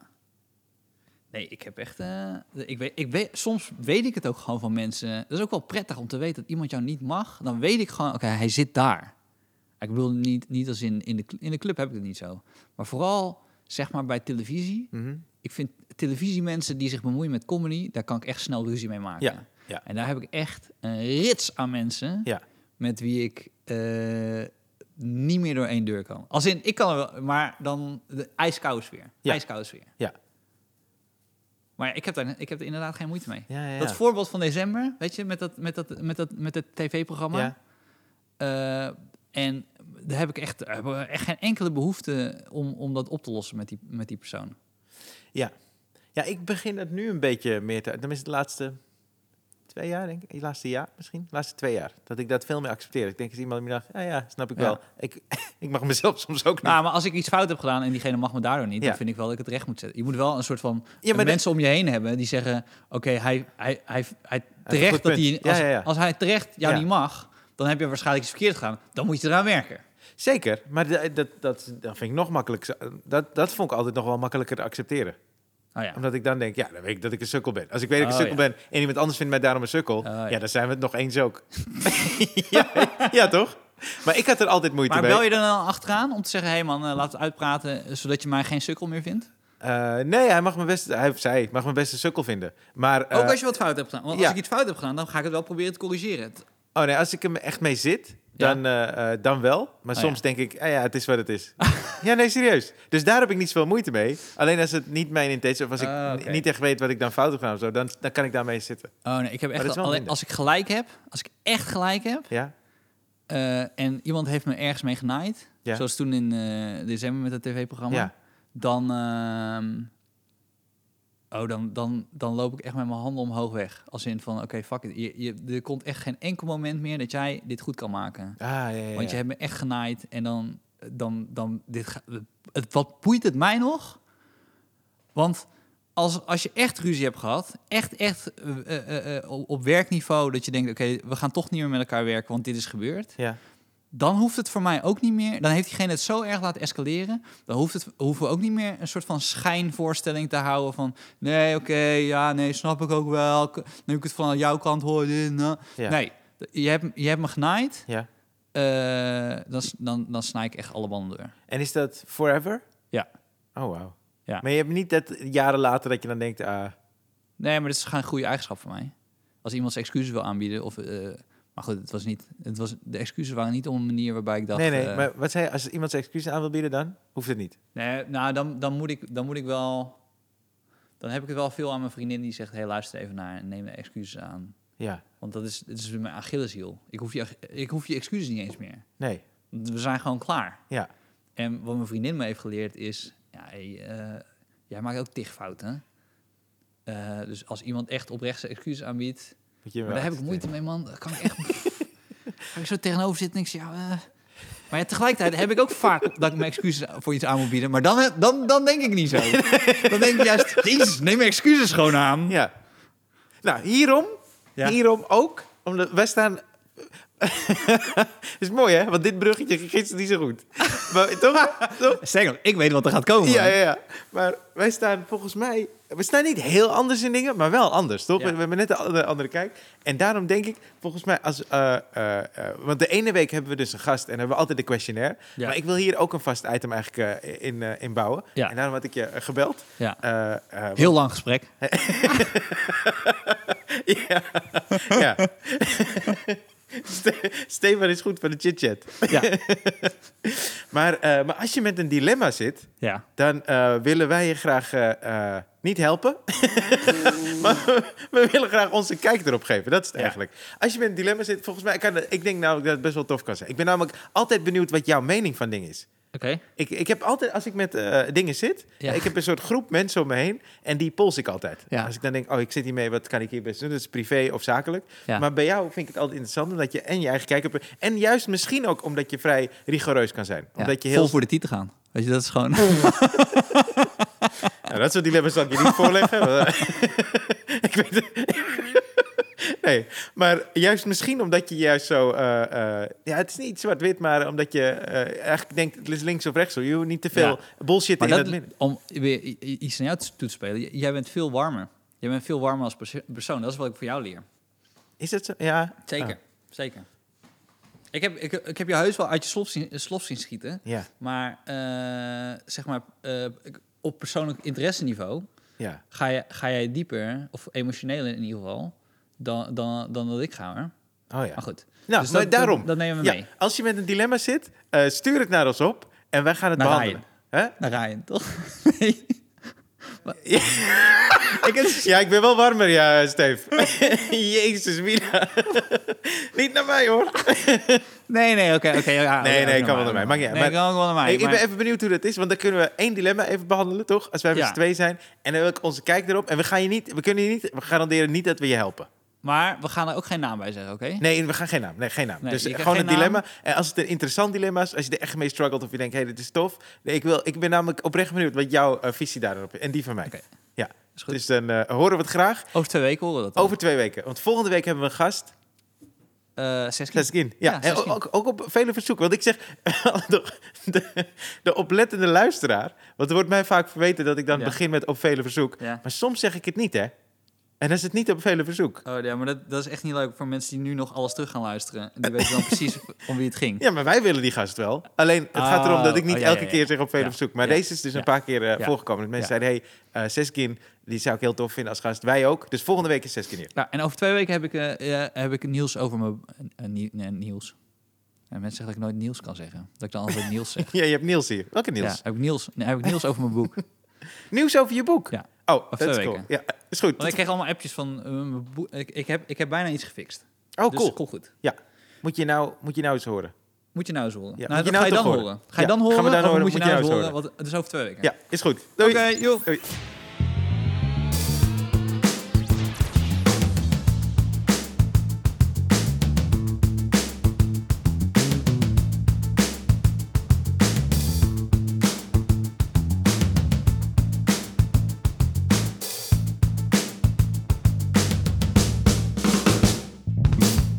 Speaker 2: Nee, ik heb echt... eh, ik weet, ik weet, soms weet ik het ook gewoon van mensen. Dat is ook wel prettig om te weten dat iemand jou niet mag. Dan weet ik gewoon, oké, hij zit daar. Ik bedoel, niet, niet als in, in, de, cl- in de club heb ik het niet zo. Maar vooral, zeg maar, bij televisie.
Speaker 1: Mhm.
Speaker 2: ik vind televisiemensen die zich bemoeien met comedy, daar kan ik echt snel ruzie mee maken.
Speaker 1: Ja, ja.
Speaker 2: En daar heb ik echt een rits aan mensen
Speaker 1: Ja.
Speaker 2: met wie ik eh, niet meer door één deur kan. Als in, ik kan er wel, maar dan de ijskous weer.
Speaker 1: Ja.
Speaker 2: Ijskous weer.
Speaker 1: Ja.
Speaker 2: Maar ja, ik heb, daar, ik heb er inderdaad geen moeite mee.
Speaker 1: Ja, ja, ja.
Speaker 2: Dat voorbeeld van december, weet je, met dat, met dat, met dat, met dat tv-programma.
Speaker 1: Ja.
Speaker 2: Eh, en daar heb ik echt, daar hebben we echt geen enkele behoefte om, om dat op te lossen met die, met die persoon.
Speaker 1: Ja, ik begin het nu een beetje meer te... Tenminste, de laatste twee jaar, denk ik. Het laatste jaar misschien. De laatste twee jaar. Dat ik dat veel meer accepteer. Ik denk als iemand me dacht, ja, ja, snap ik
Speaker 2: Ja.
Speaker 1: wel. Ik, ik mag mezelf soms ook niet.
Speaker 2: Nou, maar als ik iets fout heb gedaan en diegene mag me daardoor niet,
Speaker 1: Ja.
Speaker 2: dan vind ik wel dat ik het recht moet zetten. Je moet wel een soort van
Speaker 1: Ja, maar
Speaker 2: mensen om je heen hebben die zeggen: Oké, hij, hij, hij, hij
Speaker 1: een
Speaker 2: terecht
Speaker 1: goed
Speaker 2: dat
Speaker 1: punt.
Speaker 2: hij,
Speaker 1: Ja,
Speaker 2: als,
Speaker 1: ja, ja.
Speaker 2: als hij terecht jou
Speaker 1: Ja.
Speaker 2: niet mag, dan heb je waarschijnlijk iets verkeerd gedaan. Dan moet je eraan werken.
Speaker 1: Zeker, maar dat, dat, dat, dat vind ik nog makkelijk. Dat, dat vond ik altijd nog wel makkelijker te accepteren.
Speaker 2: Nou ja.
Speaker 1: Omdat ik dan denk, ja, dan weet ik dat ik een sukkel ben. Als ik weet dat ik een
Speaker 2: Oh,
Speaker 1: sukkel ben en iemand anders vindt mij daarom een sukkel... ja.
Speaker 2: ja.
Speaker 1: dan zijn we het nog eens ook. ja, ja, toch? Maar ik had er altijd moeite
Speaker 2: Maar
Speaker 1: mee.
Speaker 2: bel je er dan achteraan om te zeggen: Hé hey man, eh, laat het uitpraten eh, zodat je mij geen sukkel meer vindt?
Speaker 1: Eh, nee, hij mag mijn beste... Hij of zij mag mijn beste sukkel vinden. Maar, eh,
Speaker 2: Ook als je wat fout hebt gedaan. Want
Speaker 1: ja.
Speaker 2: als ik iets fout heb gedaan, dan ga ik het wel proberen te corrigeren. Het-
Speaker 1: Oh nee, als ik hem echt mee zit,
Speaker 2: Ja.
Speaker 1: dan, eh, eh, dan wel. Maar
Speaker 2: Oh,
Speaker 1: soms denk ik, ah, ja, het is wat het is. ja, nee, serieus. Dus daar heb ik niet zoveel moeite mee. Alleen als het niet mijn intentie is, of als
Speaker 2: Ah,
Speaker 1: ik
Speaker 2: oké.
Speaker 1: n- niet echt weet wat ik dan fout heb gedaan of zo, dan, dan kan ik daarmee zitten.
Speaker 2: Oh nee, ik heb echt
Speaker 1: dat is wel
Speaker 2: alleen-
Speaker 1: minder.
Speaker 2: als ik gelijk heb, als ik echt gelijk heb
Speaker 1: Ja?
Speaker 2: eh, en iemand heeft me ergens mee genaaid,
Speaker 1: Ja.
Speaker 2: zoals toen in eh, december met dat tv-programma,
Speaker 1: Ja.
Speaker 2: dan, ehm, oh, dan, dan, dan loop ik echt met mijn handen omhoog weg. Als in van, oké, fuck it. Je, je, er komt echt geen enkel moment meer dat jij dit goed kan maken.
Speaker 1: Ah, ja, ja, ja.
Speaker 2: Want je hebt me echt genaaid en dan, dan, dan dit ga- het, wat boeit het mij nog? Want als, als je echt ruzie hebt gehad, echt, echt eh, eh, eh, op- op werkniveau, dat je denkt, oké, we gaan toch niet meer met elkaar werken, want dit is gebeurd.
Speaker 1: Ja.
Speaker 2: Dan hoeft het voor mij ook niet meer. Dan heeft diegene het zo erg laten escaleren. Dan hoeft het, hoeven we ook niet meer een soort van schijnvoorstelling te houden van, nee, oké, ja, nee, snap ik ook wel. K- Nu ik het van jouw kant hoor, dit, nou.
Speaker 1: Ja.
Speaker 2: Nee, je hebt, je hebt me genaaid.
Speaker 1: ja.
Speaker 2: Eh, dan, s- dan, dan snij ik echt alle banden door.
Speaker 1: En is dat forever?
Speaker 2: Ja.
Speaker 1: Oh, wauw.
Speaker 2: Ja.
Speaker 1: Maar je hebt niet dat jaren later dat je dan denkt, ah,
Speaker 2: Nee, maar dit is gewoon een goede eigenschap van mij. Als iemand zijn excuses wil aanbieden, of... eh, maar goed, het was niet, het was, de excuses waren niet op een manier waarbij ik dacht...
Speaker 1: nee, nee.
Speaker 2: eh,
Speaker 1: maar wat zei je, als iemand zijn excuses aan wil bieden dan? Hoeft het niet.
Speaker 2: nee, nou, dan, dan, moet ik, dan moet ik wel... Dan heb ik het wel veel aan mijn vriendin die zegt... Hé, hey, luister even naar en neem de excuses aan.
Speaker 1: Ja.
Speaker 2: Want dat is, dat is mijn Achilleshiel. Ik hoef, je, ik hoef je excuses niet eens meer.
Speaker 1: Nee.
Speaker 2: Want We zijn gewoon klaar.
Speaker 1: Ja.
Speaker 2: En wat mijn vriendin me heeft geleerd is... Ja, hey, eh, jij maakt ook tig fouten. Eh, dus als iemand echt oprecht zijn excuses aanbiedt...
Speaker 1: Moet je wel
Speaker 2: Maar daar heb ik
Speaker 1: accepteren.
Speaker 2: moeite mee, man. Daar kan ik echt... kan ik zo tegenover zitten en ik zeg... Ja, eh. Maar ja, tegelijkertijd heb ik ook vaak dat ik mijn excuses voor iets aan moet bieden. Maar dan, heb- dan, dan denk ik niet zo. Dan denk ik juist, jezus, neem mijn excuses gewoon aan.
Speaker 1: Ja. Nou, hierom,
Speaker 2: Ja.
Speaker 1: hierom ook, omdat wij staan... is mooi, hè? Want dit bruggetje ging gisteren niet zo goed. maar, toch? toch?
Speaker 2: Sterker, nog, ik weet wat er gaat komen.
Speaker 1: Ja, ja, ja. Maar wij staan volgens mij... We staan niet heel anders in dingen, maar wel anders, toch?
Speaker 2: Ja.
Speaker 1: We, we hebben net een andere, andere kijk. En daarom denk ik, volgens mij... Als, eh, eh, eh, want de ene week hebben we dus een gast en hebben we altijd de questionnaire.
Speaker 2: Ja.
Speaker 1: Maar ik wil hier ook een vast item eigenlijk eh, in, eh, in bouwen.
Speaker 2: Ja.
Speaker 1: En daarom had ik je eh, gebeld.
Speaker 2: Ja.
Speaker 1: Eh, eh,
Speaker 2: Heel lang gesprek.
Speaker 1: Ja. ja. Ste- Stefan is goed van de chit-chat.
Speaker 2: Ja.
Speaker 1: Maar, eh, maar als je met een dilemma zit,
Speaker 2: ja.
Speaker 1: dan eh, willen wij je graag eh, eh, niet helpen. maar we willen graag onze kijk erop geven. Dat is het
Speaker 2: Ja.
Speaker 1: eigenlijk. Als je met een dilemma zit, volgens mij kan het- ik denk namelijk dat het best wel tof kan zijn. Ik ben namelijk altijd benieuwd wat jouw mening van dingen is.
Speaker 2: Oké.
Speaker 1: Ik, ik heb altijd, als ik met eh, dingen zit,
Speaker 2: Ja.
Speaker 1: ik heb een soort groep mensen om me heen en die pols ik altijd.
Speaker 2: Ja.
Speaker 1: Als ik dan denk, oh, ik zit hiermee, wat kan ik hier best doen? Dat is privé of zakelijk.
Speaker 2: Ja.
Speaker 1: Maar bij jou vind ik het altijd interessant, omdat je en je eigen kijk hebt. En juist misschien ook omdat je vrij rigoureus kan zijn. Omdat je heel...
Speaker 2: Vol voor de titel gaan. Weet je, dat is gewoon...
Speaker 1: Nou, dat soort dilemma's zal ik je niet voorleggen. want, eh, ik weet het. nee, maar juist misschien omdat je juist zo... eh, eh, ja, het is niet zwart-wit, maar omdat je eh, eigenlijk denkt, het is links of rechts. hoor. Je hoeft niet te veel bullshit in
Speaker 2: Maar
Speaker 1: het
Speaker 2: dat-
Speaker 1: midden.
Speaker 2: om weer i- i- iets aan jou toe te spelen. j- Jij bent veel warmer. Jij bent veel warmer als perso- persoon. Dat is wat ik voor jou leer.
Speaker 1: Is dat zo? Ja.
Speaker 2: Zeker,
Speaker 1: Ah,
Speaker 2: zeker. Ik heb, ik, ik heb je heus wel uit je slof zien, eh, slof zien schieten.
Speaker 1: ja.
Speaker 2: Maar eh, zeg maar, eh, ik- op persoonlijk interesseniveau
Speaker 1: Ja.
Speaker 2: ga, je, ga jij dieper, of emotioneel in ieder geval, dan, dan, dan dat ik ga hoor.
Speaker 1: Oh ja.
Speaker 2: Maar goed.
Speaker 1: Nou,
Speaker 2: Dus
Speaker 1: maar
Speaker 2: dat-
Speaker 1: daarom.
Speaker 2: Dat, dat nemen we
Speaker 1: Ja,
Speaker 2: mee.
Speaker 1: als je met een dilemma zit, eh, stuur het naar ons op en wij gaan het
Speaker 2: Naar
Speaker 1: behandelen. Hè?
Speaker 2: Naar Nou, Ryan, toch? Nee. Maar- ik heb
Speaker 1: Ja, ik ben wel warmer, ja, Steef. Jezus, Mina. Niet naar mij, hoor.
Speaker 2: Nee, nee, oké. oké. ja,
Speaker 1: Nee,
Speaker 2: ja,
Speaker 1: nee, kan
Speaker 2: ook naar
Speaker 1: wel naar mij, maakt niet uit,
Speaker 2: Nee,
Speaker 1: maar-
Speaker 2: kan ook wel naar mij.
Speaker 1: ik, ik
Speaker 2: maar-
Speaker 1: ben even benieuwd hoe dat is, want dan kunnen we één dilemma even behandelen, toch? Als wij met
Speaker 2: Ja.
Speaker 1: z'n twee zijn. En dan wil ik onze kijk erop. En we, gaan je niet, we kunnen je niet, we garanderen niet dat we je helpen.
Speaker 2: Maar we gaan er ook geen naam bij zeggen, oké?
Speaker 1: Nee, we gaan geen naam. Nee, geen naam.
Speaker 2: Nee,
Speaker 1: dus
Speaker 2: je krijgt
Speaker 1: gewoon een
Speaker 2: geen
Speaker 1: dilemma. En als het een interessant dilemma is, als je er echt mee struggelt of je denkt, hé, dit is tof. Nee, ik, wil, ik ben namelijk oprecht benieuwd wat jouw eh, visie daarop is. En die van mij.
Speaker 2: Oké.
Speaker 1: Ja,
Speaker 2: Is goed.
Speaker 1: dus dan eh, horen we het graag.
Speaker 2: Over twee weken horen we dat. dan.
Speaker 1: Over twee weken. Want volgende week hebben we een gast.
Speaker 2: Eh, zes keer.
Speaker 1: Seskin, ja.
Speaker 2: Ja,
Speaker 1: en
Speaker 2: Seskin.
Speaker 1: ook, ook op vele verzoeken. Want ik zeg, de, de, de oplettende luisteraar... Want er wordt mij vaak verweten dat ik dan
Speaker 2: Ja.
Speaker 1: begin met op vele verzoek.
Speaker 2: Ja.
Speaker 1: Maar soms zeg ik het niet, hè. En dan is het niet op vele verzoek.
Speaker 2: Oh ja, maar dat, dat is echt niet leuk voor mensen die nu nog alles terug gaan luisteren. Die weten dan precies om wie het ging.
Speaker 1: Ja, maar wij willen die gast wel. Alleen, het gaat erom dat ik
Speaker 2: Oh,
Speaker 1: niet
Speaker 2: oh, ja,
Speaker 1: elke
Speaker 2: ja, ja.
Speaker 1: keer zeg op vele
Speaker 2: Ja.
Speaker 1: verzoek. Maar
Speaker 2: Ja.
Speaker 1: deze is dus een
Speaker 2: Ja.
Speaker 1: paar keer eh,
Speaker 2: Ja.
Speaker 1: voorgekomen. Dat mensen
Speaker 2: Ja.
Speaker 1: zeiden, hé, hey, eh, Seskin, die zou ik heel tof vinden als gast. Wij ook. Dus volgende week is Seskin hier.
Speaker 2: Ja, Nou, en over twee weken heb ik, eh, eh, heb ik Niels over mijn... eh, nie- nee, Niels. En mensen zeggen dat ik nooit Niels kan zeggen. Dat ik dan altijd Niels zeg.
Speaker 1: Ja, je hebt Niels hier. Welke Niels?
Speaker 2: Ja, heb ik Niels, nee, heb ik Niels over mijn boek.
Speaker 1: Nieuws over je boek.
Speaker 2: Ja.
Speaker 1: Oh,
Speaker 2: Of
Speaker 1: dat is
Speaker 2: twee
Speaker 1: cool.
Speaker 2: weken.
Speaker 1: Ja, is goed.
Speaker 2: Want ik kreeg allemaal appjes van... eh, mijn boek. ik, ik, heb, ik heb bijna iets gefixt.
Speaker 1: Oh,
Speaker 2: dus
Speaker 1: cool.
Speaker 2: kom goed.
Speaker 1: Moet je nou, moet je nou eens horen.
Speaker 2: Moet je nou eens horen.
Speaker 1: Ja,
Speaker 2: nou,
Speaker 1: moet je
Speaker 2: dat
Speaker 1: nou
Speaker 2: ga je
Speaker 1: toch
Speaker 2: dan horen.
Speaker 1: horen?
Speaker 2: Ga
Speaker 1: Ja,
Speaker 2: je dan
Speaker 1: gaan we
Speaker 2: horen,
Speaker 1: dan
Speaker 2: of
Speaker 1: horen,
Speaker 2: moet je nou eens horen?
Speaker 1: horen?
Speaker 2: Want het is over twee weken.
Speaker 1: Ja, is goed. Doei.
Speaker 2: Oké, joh.
Speaker 1: Doei.